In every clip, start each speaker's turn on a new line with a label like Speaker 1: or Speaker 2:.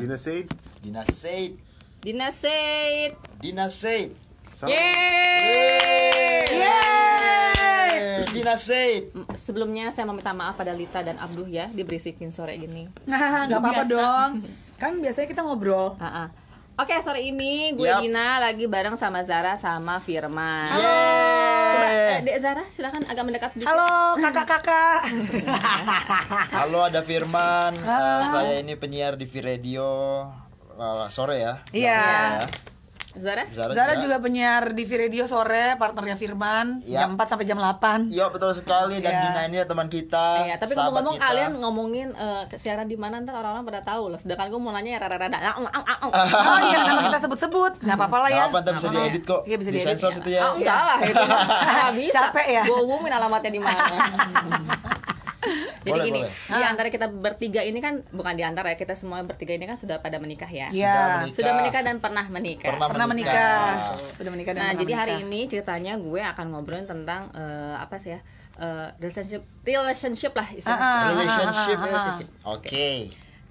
Speaker 1: Dina Said.
Speaker 2: Dina Said.
Speaker 3: Dina Said.
Speaker 2: Dina Said.
Speaker 1: Salam.
Speaker 3: Yeay!
Speaker 2: Eh, Dina Said.
Speaker 3: Sebelumnya saya mau minta maaf pada Lita dan Abduh ya diberisikin sore gini.
Speaker 4: Nah, nggak apa-apa
Speaker 3: Biasa.
Speaker 4: dong. Kan biasanya kita ngobrol.
Speaker 3: Ah, ah. Oke, sore ini gue
Speaker 2: Yap.
Speaker 3: Dina lagi bareng sama Zara sama Firman. Coba eh, Dek Zara silakan agak mendekat dulu.
Speaker 4: Halo kakak-kakak.
Speaker 2: Halo ada Firman. Eh, saya ini penyiar di V-Radio eh, sore ya.
Speaker 4: Iya.
Speaker 2: Sore ya.
Speaker 3: Zara.
Speaker 4: Zara juga penyiar di V Radio sore, partnernya Firman
Speaker 2: Iya.
Speaker 4: jam 4 sampai jam 8.
Speaker 2: Iya betul sekali dan
Speaker 4: Iya.
Speaker 2: Dina ini teman kita.
Speaker 3: Iya, tapi
Speaker 2: sahabat
Speaker 3: ngomong-ngomong
Speaker 2: kita.
Speaker 3: kalian ngomongin eh, siaran di mana ntar orang-orang pada tahu loh. Sedangkan gue mau nanya ya rada-rada. Ah, ah, ah, ah.
Speaker 4: Oh iya, kenapa kita sebut-sebut? Nggak apa-apa lah
Speaker 2: Gak
Speaker 4: ya.
Speaker 2: apa ntar bisa diedit kok.
Speaker 4: Iya, bisa diedit.
Speaker 2: Disensor situ ya.
Speaker 3: Ah, enggak lah itu mah. Nggak bisa.
Speaker 4: Capek ya?
Speaker 3: Gue umumin alamatnya di mana. Jadi
Speaker 2: Boleh,
Speaker 3: gini,
Speaker 2: boleh.
Speaker 3: di
Speaker 4: Ah.
Speaker 3: antara kita bertiga ini kan bukan di antara ya, kita semua bertiga ini kan sudah pada menikah ya.
Speaker 4: Iya.
Speaker 3: Sudah menikah dan pernah menikah.
Speaker 2: Pernah,
Speaker 4: Pernah
Speaker 2: menikah.
Speaker 4: menikah. Sudah menikah dan
Speaker 3: Nah,
Speaker 4: pernah
Speaker 3: jadi hari
Speaker 4: menikah.
Speaker 3: ini ceritanya gue akan ngobrolin tentang eh, apa sih ya? eh, relationship relationship lah
Speaker 4: Ah,
Speaker 3: istilahnya.
Speaker 2: Ah, Relationship.
Speaker 3: Relationship.
Speaker 2: Oke.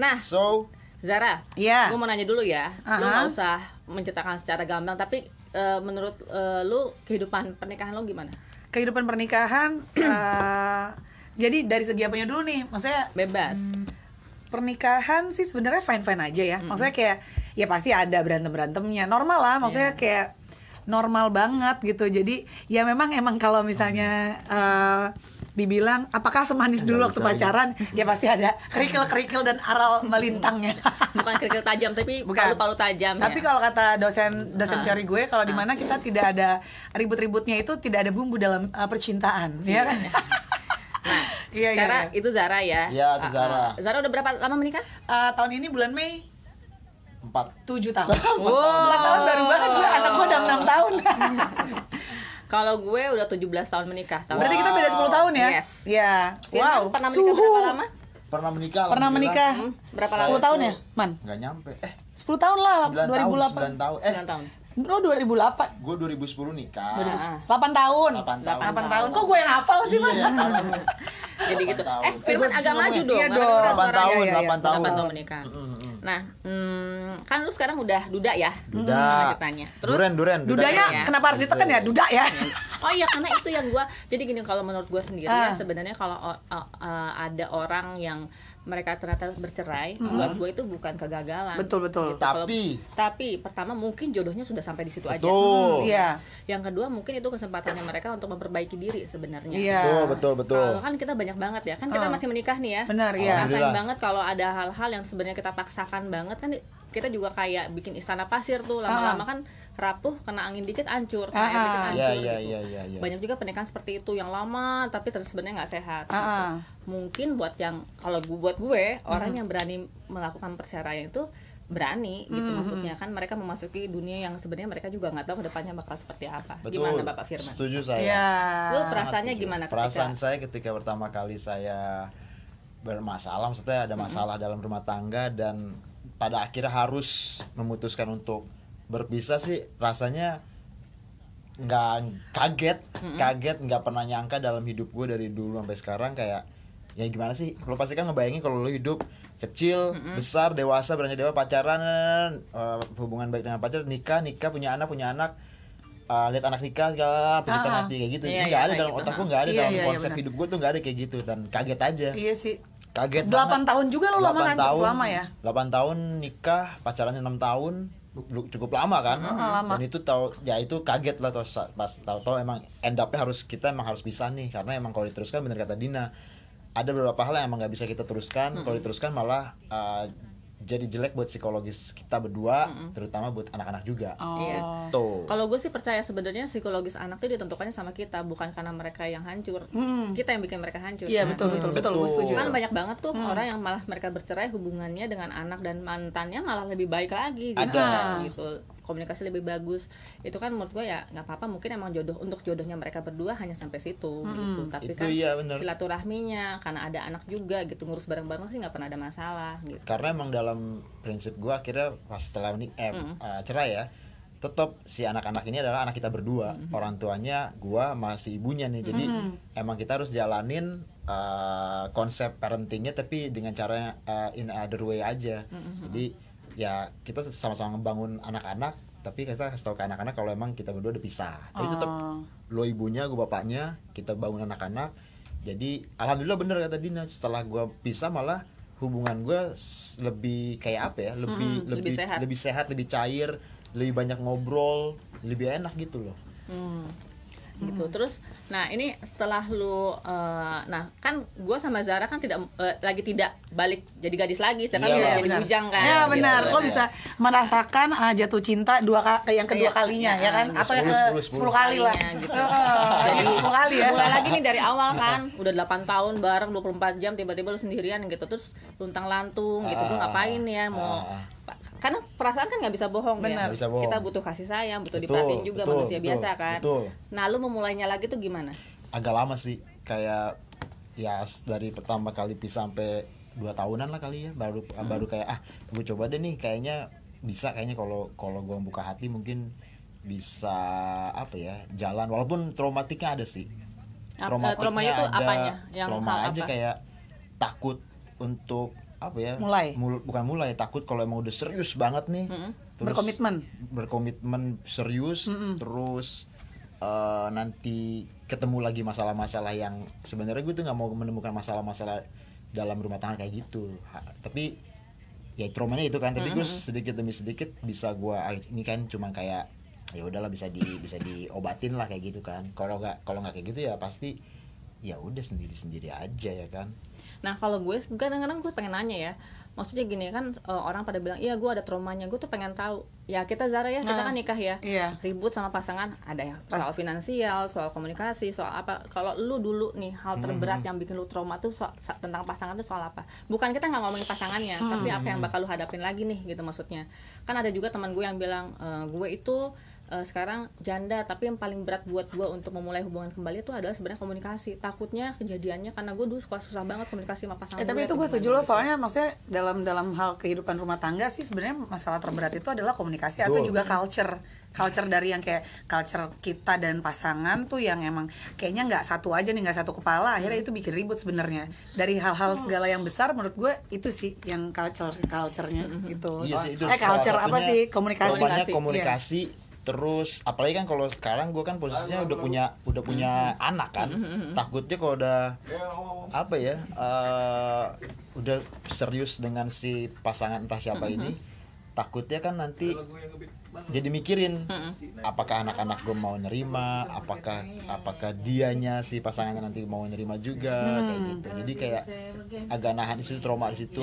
Speaker 3: Nah,
Speaker 2: So,
Speaker 3: Zara,
Speaker 4: Iya. Ah,
Speaker 3: gue mau nanya dulu ya. Lu
Speaker 4: Aha.
Speaker 3: nggak usah menceritakan secara gamblang, tapi eh, menurut eh, lu kehidupan pernikahan lu gimana?
Speaker 4: Kehidupan pernikahan eh, jadi dari segi apanya dulu nih? Maksudnya
Speaker 3: Bebas.
Speaker 4: Hmm. pernikahan sih sebenarnya fine fine aja ya maksudnya kayak ya pasti ada berantem berantemnya normal lah
Speaker 3: Iya.
Speaker 4: maksudnya kayak normal banget gitu jadi ya memang emang kalau misalnya eh, dibilang apakah semanis dulu waktu pacaran ya pasti ada kerikil kerikil dan aral melintangnya
Speaker 3: Bukan kerikil tajam, tapi
Speaker 4: Bukan.
Speaker 3: palu-palu tajam.
Speaker 4: tapi
Speaker 3: ya. Ah.
Speaker 4: kalau kata dosen dosen teori gue kalau di mana kita tidak ada ribut-ributnya itu tidak ada bumbu dalam eh, percintaan ya kan
Speaker 3: Nah,
Speaker 4: iya iya
Speaker 3: Zara,
Speaker 4: iya.
Speaker 3: itu Zara ya.
Speaker 2: Iya, itu
Speaker 3: Ah,
Speaker 2: Zara.
Speaker 3: ah. Zara udah berapa lama menikah?
Speaker 4: Eh, tahun ini bulan Mei
Speaker 2: empat.
Speaker 4: 7 tahun
Speaker 3: Wow.
Speaker 4: Empat tahun baru banget gue anak gue udah enam tahun.
Speaker 3: Kalau gue udah 17 tahun menikah. Tahun
Speaker 4: Berarti kita beda 10 tahun ya?
Speaker 3: Yes.
Speaker 4: Iya.
Speaker 3: Wow.
Speaker 4: Wow.
Speaker 3: Pernah menikah
Speaker 4: Suhu. Eh.
Speaker 3: berapa lama?
Speaker 2: Pernah menikah.
Speaker 4: Pernah menikah.
Speaker 3: Hmm, berapa lama?
Speaker 4: 10 tahun ya, Man?
Speaker 2: Gak nyampe. Eh,
Speaker 4: 10 tahun lah,
Speaker 2: 9 tahun, 9
Speaker 4: 2008.
Speaker 2: tahun. Eh,
Speaker 3: 9 tahun. Ah,
Speaker 4: Lo 2008.
Speaker 2: gue 2010 nikah.
Speaker 4: 8 tahun.
Speaker 2: 8 tahun.
Speaker 4: 8 tahun. Kok gue yang hafal sih, Man?
Speaker 2: Iya, tahun.
Speaker 3: Jadi gitu.
Speaker 2: Delapan
Speaker 3: Eh,
Speaker 2: tahun.
Speaker 3: Firman agak maju dong.
Speaker 4: Iya
Speaker 3: karena
Speaker 4: dong.
Speaker 3: kedengeran
Speaker 2: Delapan
Speaker 3: suaranya.
Speaker 2: tahun,
Speaker 4: iya, iya,
Speaker 2: delapan
Speaker 3: Udah
Speaker 2: tahun.
Speaker 3: pas tahun menikah.
Speaker 2: Mm,
Speaker 3: Nah, hmm, kan lu sekarang udah duda ya?
Speaker 2: Duda.
Speaker 3: Sama ceritanya. Terus
Speaker 2: duren, duren.
Speaker 4: Dudanya
Speaker 3: Dudanya.
Speaker 4: ya?
Speaker 3: Iya.
Speaker 4: kenapa harus ditekan ya? Duda ya.
Speaker 3: Oh iya karena itu yang gua jadi gini kalau menurut gua sendiri ya
Speaker 4: Ah.
Speaker 3: sebenarnya kalau o- o- uh, ada orang yang mereka ternyata bercerai buat gua itu bukan kegagalan. Gitu,
Speaker 4: Betul, betul.
Speaker 3: Kalau-
Speaker 2: Tapi-
Speaker 3: tapi pertama mungkin jodohnya sudah sampai di situ aja. Hmm,
Speaker 2: Betul.
Speaker 4: Iya.
Speaker 3: Yang kedua mungkin itu kesempatannya mereka untuk memperbaiki diri sebenarnya.
Speaker 4: Iya. Ah.
Speaker 2: Betul, betul, betul.
Speaker 3: Kalau kan kita banyak banget ya, kan kita masih menikah nih ya.
Speaker 4: Benar, iya.
Speaker 3: Rasain
Speaker 2: Alhamdulillah.
Speaker 3: banget kalau ada hal-hal yang sebenarnya kita paksakan banget kan kita juga kayak bikin istana pasir tuh lama-lama kan rapuh kena angin dikit hancur, kena air
Speaker 4: Ah.
Speaker 3: dikit hancur
Speaker 2: Iya, iya,
Speaker 3: gitu.
Speaker 2: iya, iya, iya.
Speaker 3: Banyak juga pernikahan seperti itu yang lama tapi terus sebenarnya nggak sehat. gitu.
Speaker 4: Ah.
Speaker 3: Mungkin buat yang kalau gue buat gue orang yang berani melakukan perceraian itu berani gitu maksudnya kan mereka memasuki dunia yang sebenarnya mereka juga nggak tahu kedepannya bakal seperti apa.
Speaker 2: Betul.
Speaker 3: Gimana Bapak Firman?
Speaker 2: Setuju saya.
Speaker 4: Iya.
Speaker 3: Lu perasaannya gimana ketika
Speaker 2: Perasaan saya ketika pertama kali saya bermasalah, maksudnya ada masalah dalam rumah tangga dan pada akhirnya harus memutuskan untuk berpisah sih rasanya nggak kaget, kaget nggak pernah nyangka dalam hidup gue dari dulu sampai sekarang kayak ya gimana sih? Lo pasti kan ngebayangin kalau lo hidup kecil, besar, dewasa, beranjak dewa, pacaran, eh, hubungan baik dengan pacar, nikah, nikah, punya anak, punya anak, eh, lihat anak nikah segala pecinta
Speaker 4: Ah,
Speaker 2: mati kayak gitu.
Speaker 3: Iya,
Speaker 2: Ini
Speaker 3: iya,
Speaker 2: nggak ada
Speaker 3: kayak
Speaker 2: dalam
Speaker 3: gitu,
Speaker 2: otak gue
Speaker 3: ha.
Speaker 2: nggak ada
Speaker 4: Iya,
Speaker 2: dalam
Speaker 4: iya, iya,
Speaker 2: konsep
Speaker 4: benar.
Speaker 2: hidup gue tuh nggak ada kayak gitu dan kaget aja.
Speaker 4: Iya sih.
Speaker 2: Kaget.
Speaker 4: 8 tahun juga lo lama
Speaker 2: Delapan
Speaker 4: kan? Cukup lama ya?
Speaker 2: 8 tahun nikah, pacarannya 6 tahun, lu- cukup lama kan? Dan itu tahu ya itu kaget lah tau, pas tahu-tahu emang end up-nya harus kita emang harus pisah nih karena emang kalau diteruskan bener kata Dina ada beberapa hal yang emang nggak bisa kita teruskan kalau diteruskan malah uh, jadi jelek buat psikologis kita berdua terutama buat anak-anak juga
Speaker 4: Oh.
Speaker 3: Iya.
Speaker 2: tuh
Speaker 3: Kalau gue sih percaya sebenarnya psikologis anak itu ditentukannya sama kita, bukan karena mereka yang hancur. Kita yang bikin mereka hancur. kan?
Speaker 4: Iya, betul betul betul gue
Speaker 2: Betul.
Speaker 4: setuju.
Speaker 3: Kan banyak banget tuh orang yang malah mereka bercerai hubungannya dengan anak dan mantannya malah lebih baik lagi gitu.
Speaker 2: Ada.
Speaker 3: kan, gitu. Komunikasi lebih bagus. Itu kan menurut gue ya nggak apa-apa mungkin emang jodoh untuk jodohnya mereka berdua hanya sampai situ gitu. Tapi
Speaker 2: Itu
Speaker 3: kan
Speaker 2: iya, bener.
Speaker 3: silaturahminya karena ada anak juga gitu ngurus bareng-bareng sih nggak pernah ada masalah gitu.
Speaker 2: karena emang dalam prinsip gua akhirnya pas setelah ni eh, eh, cerai ya tetap si anak-anak ini adalah anak kita berdua orang tuanya gua masih ibunya nih jadi emang kita harus jalanin eh, konsep parentingnya tapi dengan cara eh, in other way aja jadi ya kita sama-sama ngebangun anak-anak tapi kita kasih tahu ke anak-anak kalau emang kita berdua udah pisah tapi tetap
Speaker 4: Oh.
Speaker 2: lo ibunya gue bapaknya kita bangun anak-anak jadi alhamdulillah bener kata Dina setelah gue pisah malah hubungan gue s- lebih kayak apa ya lebih
Speaker 3: Mm-mm, lebih
Speaker 2: lebih
Speaker 3: sehat.
Speaker 2: lebih sehat lebih cair lebih banyak ngobrol lebih enak gitu loh
Speaker 3: Hmm, gitu terus nah ini setelah lu eh, nah kan gua sama Zara kan tidak eh, lagi tidak balik jadi gadis lagi sedangkan
Speaker 2: Iya,
Speaker 3: udah
Speaker 2: iya,
Speaker 3: jadi
Speaker 4: benar.
Speaker 3: bujang kan
Speaker 4: Ya
Speaker 3: Gitu.
Speaker 4: benar, lo
Speaker 3: Nah,
Speaker 4: bisa merasakan ah, jatuh cinta dua ka- yang kedua
Speaker 3: Iya,
Speaker 4: kalinya
Speaker 3: iya.
Speaker 4: ya kan, atau yang ke
Speaker 2: 10, 10,
Speaker 4: 10 kali lah.
Speaker 3: kalinya gitu.
Speaker 4: Heeh,
Speaker 3: Jadi,
Speaker 4: sepuluh kali ya.
Speaker 3: mulai lagi nih dari awal kan udah 8 tahun bareng 24 jam tiba-tiba lu sendirian gitu terus luntang lantung gitu gue
Speaker 2: Ah,
Speaker 3: ngapain ya mau
Speaker 2: ah.
Speaker 3: karena perasaan kan nggak bisa bohong
Speaker 4: Benar.
Speaker 3: ya
Speaker 2: Nggak bisa bohong.
Speaker 3: kita butuh kasih sayang butuh
Speaker 2: Betul,
Speaker 3: diperhatiin juga
Speaker 2: betul,
Speaker 3: manusia
Speaker 2: betul,
Speaker 3: biasa kan
Speaker 2: betul.
Speaker 3: nah lu memulainya lagi tuh gimana
Speaker 2: agak lama sih kayak ya s- dari pertama kali pisah sampai dua tahunan lah kali ya baru
Speaker 3: Hmm.
Speaker 2: baru kayak ah gue coba deh nih kayaknya bisa kayaknya kalau kalau gue buka hati mungkin bisa apa ya jalan walaupun traumatiknya ada sih
Speaker 3: Ap- eh,
Speaker 2: traumatiknya
Speaker 3: traumanya tuh
Speaker 2: ada
Speaker 3: apanya? Yang
Speaker 2: trauma
Speaker 3: hal
Speaker 2: aja
Speaker 3: apa?
Speaker 2: kayak takut untuk apa ya
Speaker 4: Mulai.
Speaker 2: mul- bukan mulai takut kalau emang udah serius banget nih
Speaker 3: Hmm.
Speaker 2: terus-
Speaker 4: Berkomitmen.
Speaker 2: berkomitmen serius terus eh, nanti ketemu lagi masalah-masalah yang sebenarnya gue tuh nggak mau menemukan masalah-masalah dalam rumah tangga kayak gitu Ha- tapi ya traumanya itu kan tapi gue sedikit demi sedikit bisa gue ah, ini kan cuman kayak ya udahlah bisa di bisa diobatin lah kayak gitu kan kalau nggak kalau nggak kayak gitu ya pasti ya udah sendiri sendiri aja ya kan
Speaker 3: Nah kalau gue kadang-kadang gue pengen nanya ya Maksudnya gini kan eh, orang pada bilang Iya gue ada traumanya Gue tuh pengen tahu Ya kita Zara ya kita kan
Speaker 4: Nah,
Speaker 3: nikah ya
Speaker 4: iya.
Speaker 3: Ribut sama pasangan ada ya Soal finansial, soal komunikasi, soal apa Kalau lu dulu nih hal terberat yang bikin lu trauma tuh so- sa- Tentang pasangan tuh soal apa Bukan kita nggak ngomongin pasangannya
Speaker 4: Hmm.
Speaker 3: Tapi apa yang bakal lu hadapin lagi nih gitu maksudnya Kan ada juga teman gue yang bilang "Eh, Gue itu eh, sekarang janda tapi yang paling berat buat gue untuk memulai hubungan kembali itu adalah sebenarnya komunikasi takutnya kejadiannya karena gue dulu suka susah banget komunikasi sama pasangan
Speaker 4: Eh, tapi
Speaker 3: gue
Speaker 4: itu
Speaker 3: atau
Speaker 4: gue
Speaker 3: gimana
Speaker 4: setuju loh
Speaker 3: gitu.
Speaker 4: soalnya maksudnya dalam dalam hal kehidupan rumah tangga sih sebenarnya masalah terberat itu adalah komunikasi atau
Speaker 2: Betul.
Speaker 4: juga culture culture dari yang kayak culture kita dan pasangan tuh yang emang kayaknya nggak satu aja nih nggak satu kepala akhirnya itu bikin ribut sebenarnya dari hal-hal
Speaker 3: Hmm.
Speaker 4: segala yang besar menurut gue itu sih yang culture culturenya gitu
Speaker 2: Iya sih, itu
Speaker 4: eh
Speaker 2: salah
Speaker 4: culture
Speaker 2: satunya.
Speaker 4: apa sih Iya. komunikasi
Speaker 2: Pokoknya
Speaker 3: Hmm, Komunikasi,
Speaker 2: komunikasi terus apalagi kan kalau sekarang gue kan posisinya udah punya udah punya
Speaker 4: Mm-hmm.
Speaker 2: anak kan takutnya kalau udah apa ya eh, udah serius dengan si pasangan entah siapa
Speaker 4: Mm-hmm.
Speaker 2: ini takutnya kan nanti jadi mikirin
Speaker 4: Mm-hmm.
Speaker 2: apakah anak-anak gue mau nerima apakah apakah dianya si pasangannya nanti mau nerima juga kayak gitu
Speaker 4: Mm-hmm.
Speaker 2: jadi kayak agak nahan di situ trauma di situ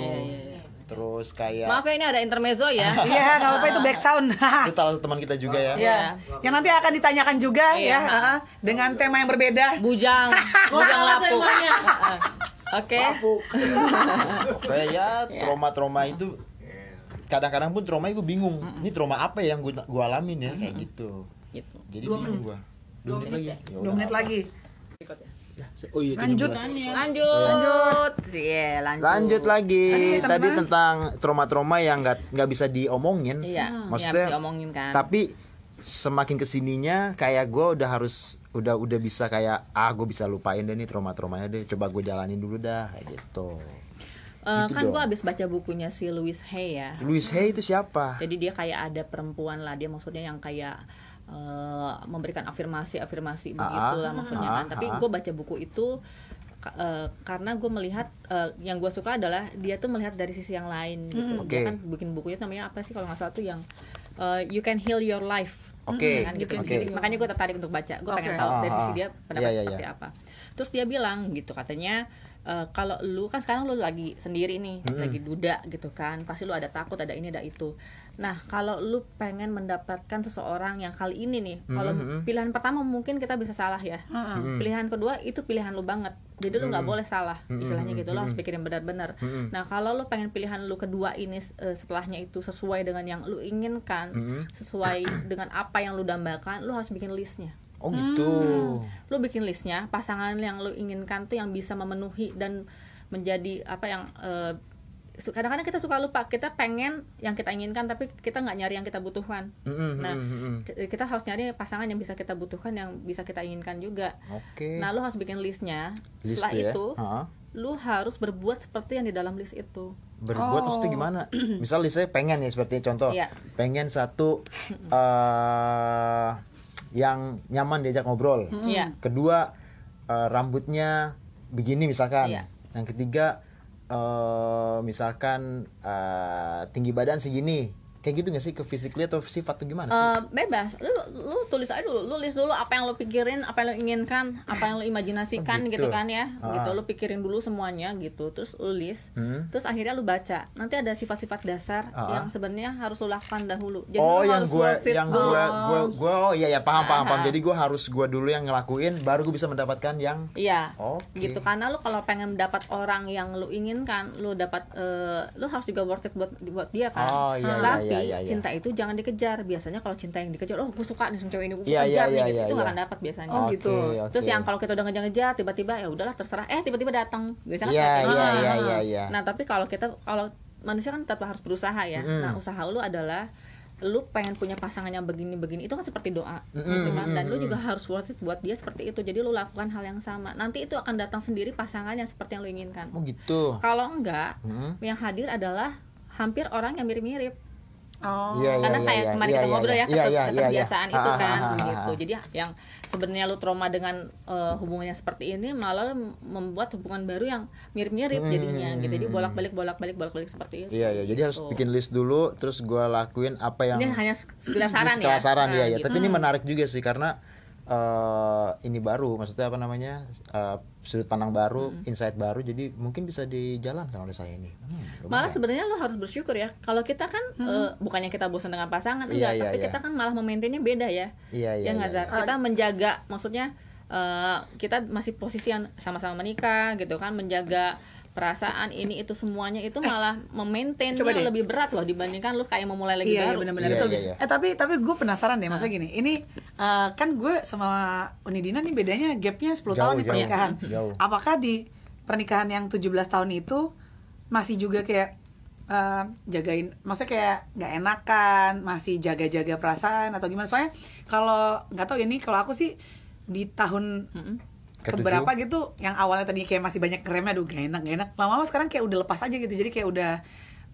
Speaker 2: terus kayak
Speaker 3: maaf ya ini ada intermezzo ya
Speaker 4: Iya, nggak apa-apa itu back sound.
Speaker 2: itu salah satu teman kita juga ya.
Speaker 4: Iya. Yang nanti akan ditanyakan juga
Speaker 3: Iya.
Speaker 4: ya, heeh, dengan tema yang berbeda.
Speaker 3: bujang bujang lapu Heeh. oke
Speaker 2: Kayak ya trauma-trauma itu kadang-kadang pun trauma gue bingung. Ini trauma apa yang gue gua alamin ya kayak gitu.
Speaker 3: gitu
Speaker 2: Jadi bingung gue. Dua menit lagi. Ya udah,
Speaker 4: Dua menit lagi.
Speaker 2: Oh iya,
Speaker 4: Lanjut.
Speaker 3: lanjut lanjut Iya, lanjut
Speaker 2: Lanjut lagi
Speaker 4: Tadi sampai
Speaker 2: tadi
Speaker 4: mana?
Speaker 2: tentang trauma-trauma yang nggak nggak bisa diomongin.
Speaker 3: iya yang
Speaker 2: Maksudnya
Speaker 3: harus diomongin kan
Speaker 2: tapi semakin kesininya kayak gue udah harus udah udah bisa kayak ah gue bisa lupain deh nih trauma-traumanya deh coba gue jalanin dulu dah kayak gitu
Speaker 3: Eh,
Speaker 2: gitu
Speaker 3: kan gue
Speaker 2: dong.
Speaker 3: abis baca bukunya si Louis Hay ya
Speaker 2: Louis Hay itu siapa
Speaker 3: Jadi dia kayak ada perempuan lah, dia maksudnya yang kayak eh, memberikan afirmasi-afirmasi
Speaker 2: Ah,
Speaker 3: begitulah maksudnya kan. Tapi gue baca buku itu ka- eh, karena gue melihat eh, yang gue suka adalah dia tuh melihat dari sisi yang lain gitu.
Speaker 2: Hmm.
Speaker 3: Dia
Speaker 2: Oke.
Speaker 3: kan bikin bukunya namanya apa sih kalau nggak salah tuh yang eh, You Can Heal Your Life.
Speaker 2: Oke,
Speaker 3: Kan gitu.
Speaker 2: oke.
Speaker 3: Jadi, makanya gue tertarik untuk baca. Gue pengen
Speaker 4: Oke.
Speaker 3: tahu dari
Speaker 2: Ah,
Speaker 3: sisi
Speaker 2: ah.
Speaker 3: dia pendapat
Speaker 2: Iya, iya,
Speaker 3: seperti apa. Terus dia bilang gitu katanya eh, kalau lu kan sekarang lu lagi sendiri nih, lagi duda gitu kan. Pasti lu ada takut, ada ini, ada itu. Nah, kalau lu pengen mendapatkan seseorang yang kali ini nih, kalau pilihan pertama mungkin kita bisa salah ya. Pilihan kedua itu pilihan lu banget. Jadi lu nggak boleh salah. Istilahnya gitu lo harus pikirin benar-benar. Nah, kalau lu pengen pilihan lu kedua ini eh, setelahnya itu sesuai dengan yang lu inginkan, sesuai dengan apa yang lu dambakan, lu harus bikin listnya
Speaker 2: Oh gitu.
Speaker 3: lu bikin listnya pasangan yang lu inginkan tuh yang bisa memenuhi dan menjadi apa yang eh, su- kadang-kadang kita suka lupa kita pengen yang kita inginkan tapi kita nggak nyari yang kita butuhkan nah ki- kita harus nyari pasangan yang bisa kita butuhkan yang bisa kita inginkan juga
Speaker 2: Oke.
Speaker 3: nah lu harus bikin listnya
Speaker 2: List
Speaker 3: setelah
Speaker 2: ya?
Speaker 3: itu
Speaker 2: Ha?
Speaker 3: lu harus berbuat seperti yang di dalam list itu
Speaker 2: berbuat maksudnya gimana? Misal saya pengen ya seperti contoh,
Speaker 3: Oh. Iya.
Speaker 2: pengen satu eh yang nyaman diajak ngobrol.
Speaker 3: Iya.
Speaker 2: Kedua eh, rambutnya begini misalkan.
Speaker 3: Iya.
Speaker 2: Yang ketiga eh misalkan eh, tinggi badan segini. Kayak gitu nggak sih ke physically atau sifat tuh gimana sih?
Speaker 3: Eh, bebas lu, lu tulis aja dulu lu list dulu apa yang lu pikirin apa yang lu inginkan apa yang lu
Speaker 2: Oh,
Speaker 3: imajinasikan
Speaker 2: gitu.
Speaker 3: gitu. kan ya
Speaker 2: Ah.
Speaker 3: gitu lu pikirin dulu semuanya gitu terus lu list
Speaker 2: Hmm.
Speaker 3: terus akhirnya lu baca nanti ada sifat-sifat dasar
Speaker 2: Ah.
Speaker 3: yang sebenarnya harus lu lakukan dahulu jadi
Speaker 2: oh,
Speaker 3: lu
Speaker 2: yang
Speaker 3: harus
Speaker 2: gue
Speaker 3: worth it
Speaker 2: yang
Speaker 3: dulu.
Speaker 2: gue gue gue oh iya ya paham paham paham.
Speaker 3: Aha.
Speaker 2: Jadi gue harus gue dulu yang ngelakuin baru gue bisa mendapatkan yang
Speaker 3: Iya.
Speaker 2: Oke.
Speaker 3: Gitu karena lu kalau pengen dapat orang yang lu inginkan, lu dapat eh, lu harus juga worth it buat buat dia kan.
Speaker 2: Oh, iya, iya,
Speaker 3: Tapi
Speaker 2: iya, iya, iya.
Speaker 3: cinta itu jangan dikejar. Biasanya kalau cinta yang dikejar, oh gue suka nih sama cewek ini, gue
Speaker 2: Iya, iya,
Speaker 3: kejar nih
Speaker 2: iya,
Speaker 3: gitu.
Speaker 2: iya,
Speaker 3: itu nggak
Speaker 2: iya.
Speaker 3: akan dapat biasanya.
Speaker 4: Oh,
Speaker 2: Oke,
Speaker 4: gitu.
Speaker 2: oke.
Speaker 3: Terus yang kalau kita udah ngejar-ngejar tiba-tiba ya udahlah terserah. Eh tiba-tiba datang. Biasanya kan
Speaker 2: Iya
Speaker 3: kayak gitu.
Speaker 2: iya iya iya iya.
Speaker 3: Nah, tapi kalau kita kalau manusia kan tetap harus berusaha ya.
Speaker 2: Mm.
Speaker 3: Nah, usaha lu adalah lu pengen punya pasangan yang begini-begini itu kan seperti doa gitu kan dan lu juga harus worth it buat dia seperti itu jadi lu lakukan hal yang sama nanti itu akan datang sendiri pasangan yang seperti yang lu inginkan
Speaker 2: Oh gitu.
Speaker 3: kalau enggak
Speaker 2: Hmm.
Speaker 3: yang hadir adalah hampir orang yang mirip-mirip
Speaker 4: Oh.
Speaker 2: Iya, iya,
Speaker 3: karena
Speaker 2: iya,
Speaker 3: kayak
Speaker 2: iya,
Speaker 3: kemarin
Speaker 2: iya,
Speaker 3: kita
Speaker 2: iya,
Speaker 3: ngobrol
Speaker 2: iya,
Speaker 3: ya
Speaker 2: iya, iya,
Speaker 3: keter-
Speaker 2: iya,
Speaker 3: keterbiasaan
Speaker 2: iya.
Speaker 3: itu kan
Speaker 2: Ah, ah, ah,
Speaker 3: begitu
Speaker 2: ah.
Speaker 3: jadi yang sebenarnya lu trauma dengan eh, hubungannya seperti ini malah membuat hubungan baru yang mirip-mirip jadinya gitu jadi bolak-balik bolak-balik bolak-balik seperti itu
Speaker 2: Iya iya, jadi harus
Speaker 3: Gitu.
Speaker 2: bikin list dulu, terus gua lakuin apa yang
Speaker 3: ini hanya sekedar saran ya
Speaker 2: sekelas saran, iya,
Speaker 3: Nah,
Speaker 2: iya.
Speaker 3: gitu.
Speaker 2: Tapi ini menarik juga sih karena eh, ini baru, maksudnya apa namanya eh, sudut pandang baru,
Speaker 3: Hmm.
Speaker 2: insight baru, jadi mungkin bisa dijalankan oleh saya ini. Hmm, lumayan.
Speaker 3: malah sebenarnya lo harus bersyukur ya kalau kita kan
Speaker 4: Hmm.
Speaker 3: eh, bukannya kita bosan dengan pasangan
Speaker 2: Iya,
Speaker 3: enggak
Speaker 2: iya,
Speaker 3: tapi
Speaker 2: iya.
Speaker 3: kita kan malah memaintainnya beda ya
Speaker 2: Iya, iya,
Speaker 3: ya nggak,
Speaker 2: iya,
Speaker 3: Zar? kita menjaga maksudnya eh, kita masih posisi yang sama-sama menikah gitu kan menjaga perasaan ini itu semuanya itu malah memaintain
Speaker 4: Coba deh.
Speaker 3: lebih berat loh dibandingkan lo kayak memulai lagi
Speaker 4: Iya, iya
Speaker 3: baru Ah.
Speaker 4: benar-benar
Speaker 2: Iya,
Speaker 4: itu
Speaker 2: iya,
Speaker 4: bisa.
Speaker 2: iya.
Speaker 4: Eh tapi tapi gue penasaran deh, maksudnya gini, ini eh, kan gue sama Unidina nih bedanya gapnya 10 tahun
Speaker 2: Jauh,
Speaker 4: nih
Speaker 2: jauh,
Speaker 4: pernikahan.
Speaker 2: jauh.
Speaker 4: Apakah di pernikahan yang 17 tahun itu masih juga kayak eh, jagain, maksudnya kayak nggak enakan, masih jaga-jaga perasaan atau gimana? Soalnya kalau nggak tahu ya nih, kalau aku sih di tahun
Speaker 2: Ketujuh.
Speaker 4: keberapa gitu, yang awalnya tadi kayak masih banyak remnya, aduh gak enak, gak enak. Lama-lama sekarang kayak udah lepas aja gitu, jadi kayak udah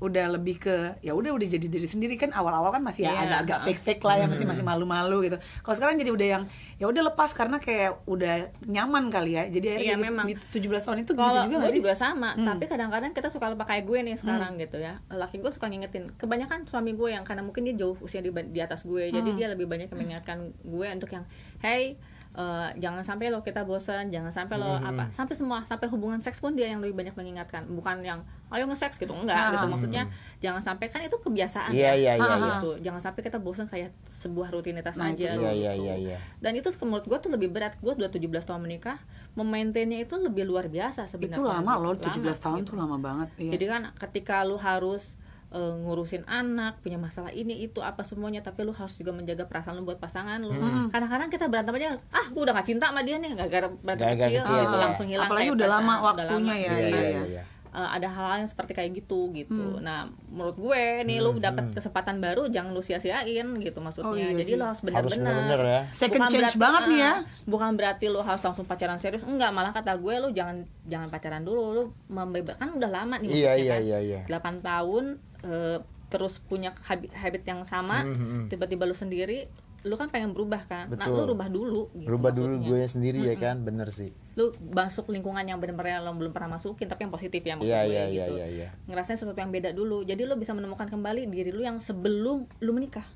Speaker 4: udah lebih ke ya udah udah jadi diri sendiri kan awal-awal kan masih ya
Speaker 3: Iya.
Speaker 4: agak-agak fake-fake lah ya masih masih malu-malu gitu. Kalau sekarang jadi udah yang ya udah lepas karena kayak udah nyaman kali ya. Jadi akhirnya
Speaker 3: Iya,
Speaker 4: gitu,
Speaker 3: memang.
Speaker 4: di 17 tahun itu gitu
Speaker 3: Kalau
Speaker 4: juga
Speaker 3: gue
Speaker 4: gak sih? Hmm.
Speaker 3: juga sama, tapi kadang-kadang kita suka lupa kayak gue nih sekarang gitu ya. Laki gue suka ngingetin. Kebanyakan suami gue yang karena mungkin dia jauh usia di, di atas gue, jadi
Speaker 4: Hmm.
Speaker 3: dia lebih banyak yang mengingatkan gue untuk yang, hey, eh, jangan sampai lo kita bosan, jangan sampai lo apa,
Speaker 4: Hmm.
Speaker 3: sampai semua, sampai hubungan seks pun dia yang lebih banyak mengingatkan, bukan yang ayo nge-seks gitu enggak
Speaker 4: Ah.
Speaker 3: gitu maksudnya jangan sampai kan itu kebiasaan
Speaker 2: Iya, iya,
Speaker 3: ya
Speaker 2: iya,
Speaker 4: iya.
Speaker 3: gitu jangan sampai kita bosan kayak sebuah rutinitas
Speaker 4: Nah,
Speaker 2: dia.
Speaker 3: aja
Speaker 4: itu
Speaker 3: gitu.
Speaker 2: Iya, iya, iya, iya.
Speaker 3: dan itu menurut gue tuh lebih berat gue udah 17 tahun menikah memaintainnya itu lebih luar biasa sebenarnya
Speaker 4: Itu lama loh 17
Speaker 3: Lama,
Speaker 4: tahun
Speaker 3: gitu.
Speaker 4: tuh lama banget. Iya.
Speaker 3: jadi kan ketika lu harus eh, ngurusin anak punya masalah ini itu apa semuanya tapi lu harus juga menjaga perasaan lu buat pasangan
Speaker 4: Hmm.
Speaker 3: lu kadang-kadang kita berantem aja ah gue udah gak cinta sama dia nih gara-gara berantem
Speaker 2: Gara-gara
Speaker 3: kecil,
Speaker 2: kecil,
Speaker 3: gitu,
Speaker 2: iya.
Speaker 3: langsung hilang
Speaker 4: Apalagi
Speaker 3: kayak
Speaker 4: udah lama
Speaker 3: perasaan, udah
Speaker 4: waktunya
Speaker 3: lama.
Speaker 4: ya. Hmm.
Speaker 2: Iya iya iya. iya.
Speaker 3: Eh, ada hal-hal yang seperti kayak gitu gitu. Nah, menurut gue nih lu dapat kesempatan baru jangan lu sia-siain gitu maksudnya.
Speaker 4: Oh, iya
Speaker 3: Jadi
Speaker 4: sih.
Speaker 3: lu harus
Speaker 2: Harus bener-bener
Speaker 3: benar-benar eh,
Speaker 2: ya.
Speaker 4: Second change banget nih ya.
Speaker 3: Bukan berarti lu harus langsung pacaran serius. Enggak, malah kata gue lu jangan jangan pacaran dulu. Lu membebas kan udah lama
Speaker 2: Iya,
Speaker 3: nih maksudnya
Speaker 2: iya,
Speaker 3: kan.
Speaker 2: iya, iya.
Speaker 3: 8 tahun eh, terus punya habit, habit yang sama,
Speaker 2: Hmm,
Speaker 3: tiba-tiba lu sendiri lu kan pengen berubah kan. Nah,
Speaker 2: Betul.
Speaker 3: lu rubah dulu gitu
Speaker 2: Rubah dulu
Speaker 3: maksudnya
Speaker 2: gue sendiri ya kan, bener sih.
Speaker 3: lu masuk lingkungan yang benar-benar lo belum pernah masukin tapi yang positif ya maksud
Speaker 2: Iya,
Speaker 3: gue
Speaker 2: iya, iya,
Speaker 3: gitu
Speaker 2: iya, iya.
Speaker 3: ngerasain sesuatu yang beda dulu jadi lu bisa menemukan kembali diri lu yang sebelum lu menikah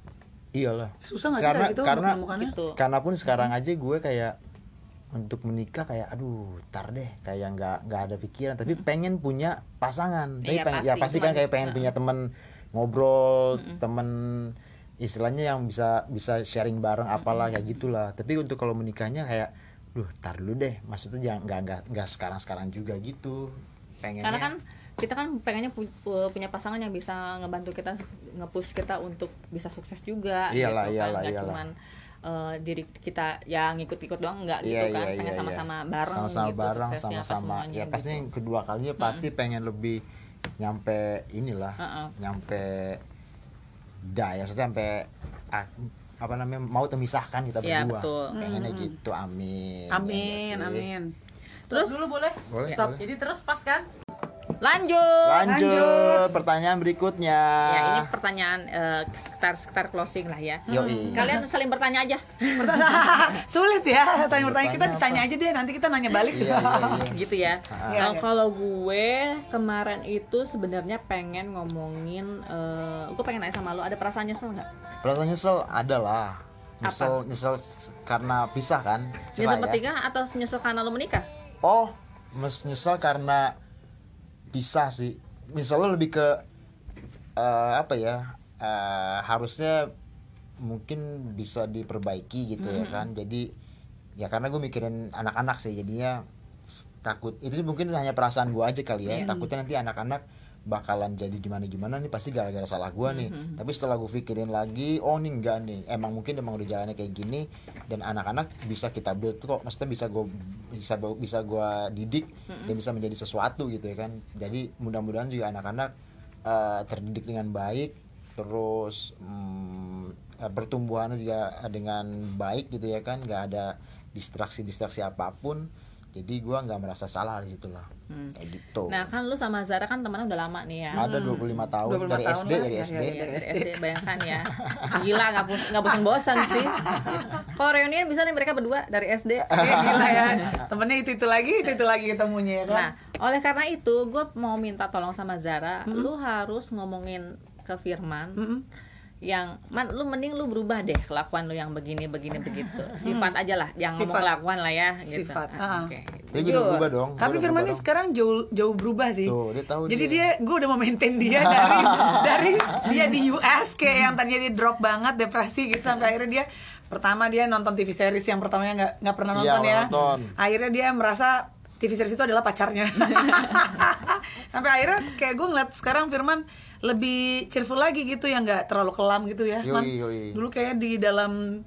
Speaker 2: Iyalah.
Speaker 4: Susah nggak sih
Speaker 2: karena,
Speaker 4: kayak gitu
Speaker 2: karena,
Speaker 4: untuk menemukannya?
Speaker 3: Gitu.
Speaker 2: Karena pun sekarang aja gue kayak untuk menikah kayak aduh tar deh kayak nggak nggak ada pikiran tapi pengen punya pasangan tapi
Speaker 3: Iya,
Speaker 2: pengen- ya
Speaker 3: pasti.
Speaker 2: pasti kan
Speaker 3: Cuman-
Speaker 2: kayak pengen punya temen ngobrol temen istilahnya yang bisa bisa sharing bareng apalah kayak gitulah tapi untuk kalau menikahnya kayak duh tar dulu deh maksudnya jangan nggak nggak nggak sekarang sekarang juga gitu pengennya
Speaker 3: karena kan kita kan pengennya pu- pu- punya pasangan yang bisa ngebantu kita nge-push kita untuk bisa sukses juga
Speaker 2: Iyalah,
Speaker 3: gitu kan.
Speaker 2: iyalah,
Speaker 3: Nggak
Speaker 2: iyalah.
Speaker 3: cuman eh, diri kita yang ngikut-ngikut doang enggak
Speaker 2: Iya,
Speaker 3: gitu kan
Speaker 2: iya,
Speaker 3: pengen
Speaker 2: iya,
Speaker 3: sama-sama
Speaker 2: iya.
Speaker 3: bareng
Speaker 2: sama-sama
Speaker 3: gitu
Speaker 2: bareng
Speaker 3: suksesnya apa
Speaker 2: sama-sama
Speaker 3: semuanya
Speaker 2: ya
Speaker 3: gitu.
Speaker 2: pasti yang kedua kalinya pasti pengen lebih nyampe inilah
Speaker 3: Mm-mm.
Speaker 2: nyampe dah ya maksudnya sampai ak- apa namanya mau termisahkan kita
Speaker 3: Iya,
Speaker 2: berdua
Speaker 3: betul.
Speaker 4: iya
Speaker 2: pengennya gitu amin Ya nggak
Speaker 4: Amin,
Speaker 2: sih?
Speaker 4: amin.
Speaker 3: Terus?
Speaker 1: dulu boleh?
Speaker 2: Boleh, boleh.
Speaker 1: Stop. Jadi terus pas kan?
Speaker 3: Lanjut.
Speaker 2: Lanjut, pertanyaan berikutnya.
Speaker 3: Ya, ini pertanyaan eh, sekitar sekitar closing lah ya.
Speaker 2: Yoi.
Speaker 3: Kalian saling bertanya aja.
Speaker 4: Sulit ya tanya-tanya
Speaker 2: Bertanya
Speaker 4: kita
Speaker 2: apa?
Speaker 4: ditanya aja deh nanti kita nanya balik.
Speaker 2: Iya, iya, iya.
Speaker 3: gitu ya.
Speaker 4: Iya,
Speaker 3: Nah,
Speaker 4: iya.
Speaker 3: kalau gue kemarin itu sebenarnya pengen ngomongin eh, gue pengen nanya sama lo ada perasaan nyesel nggak?
Speaker 2: Perasaan nyesel ada lah. Nyesel, nyesel s- karena pisah kan?
Speaker 3: Nyesel
Speaker 2: Cerai ya.
Speaker 3: bertiga atau nyesel karena lo menikah?
Speaker 2: Oh, mes nyesel karena pisah sih. Misalnya lebih ke eh, apa ya? eh, harusnya mungkin bisa diperbaiki gitu ya kan. Jadi ya karena gue mikirin anak-anak sih jadinya s- takut itu mungkin hanya perasaan gue aja kali ya. Takutnya nanti anak-anak bakalan jadi gimana-gimana nih pasti gara-gara salah gue nih. Tapi setelah gue pikirin lagi, oh nih enggak nih. Emang mungkin emang udah jalannya kayak gini dan anak-anak bisa kita build kok. Maksudnya bisa gue bisa bisa gua didik dan bisa menjadi sesuatu gitu ya kan. Jadi mudah-mudahan juga anak-anak eh, terdidik dengan baik terus mm, eh, pertumbuhannya juga dengan baik gitu ya kan nggak ada distraksi-distraksi apapun jadi gua nggak merasa salah di situ lah kayak gitu
Speaker 3: Nah kan lo sama Zara kan temenan udah lama nih ya.
Speaker 4: Hmm.
Speaker 2: ada 25 tahun
Speaker 4: 25
Speaker 2: dari
Speaker 4: tahun
Speaker 2: SD
Speaker 4: lah,
Speaker 2: dari
Speaker 4: ya,
Speaker 2: SD
Speaker 3: Iya, dari SD bayangkan ya gila nggak bos nggak bosan-bosan sih kalau reunian bisa nih mereka berdua dari SD
Speaker 4: Iya, gila ya temennya itu itu lagi itu itu lagi ketemunya ya kan.
Speaker 3: Nah, oleh karena itu, gue mau minta tolong sama Zara. Lu harus ngomongin ke Firman. yang man lu mending lu berubah deh kelakuan lu yang begini begini begitu sifat aja lah jangan ngomong
Speaker 4: Sifat.
Speaker 3: kelakuan lah ya gitu
Speaker 4: Sifat,
Speaker 3: Ah,
Speaker 4: ah.
Speaker 3: oke.
Speaker 2: tapi gue udah
Speaker 3: Jujur.
Speaker 2: berubah dong gua
Speaker 4: Tapi
Speaker 2: udah
Speaker 4: Firman ini
Speaker 2: berubah dong.
Speaker 4: sekarang jauh jauh berubah sih.
Speaker 2: Tuh, dia tahu
Speaker 4: Jadi
Speaker 2: dia.
Speaker 4: dia, gue udah mau maintain dia dari dari dia di US kayak yang tadinya dia drop banget depresi gitu sampai akhirnya dia pertama dia nonton TV series yang pertamanya nggak nggak
Speaker 2: Iya,
Speaker 4: pernah nonton
Speaker 2: nggak
Speaker 4: ya.
Speaker 2: nonton.
Speaker 4: Akhirnya dia merasa TV series itu adalah pacarnya. sampai akhirnya kayak gue ngeliat sekarang Firman lebih cheerful lagi gitu yang nggak terlalu kelam gitu ya.
Speaker 2: Yoi,
Speaker 4: Man.
Speaker 2: yoi.
Speaker 4: Dulu kayak di dalam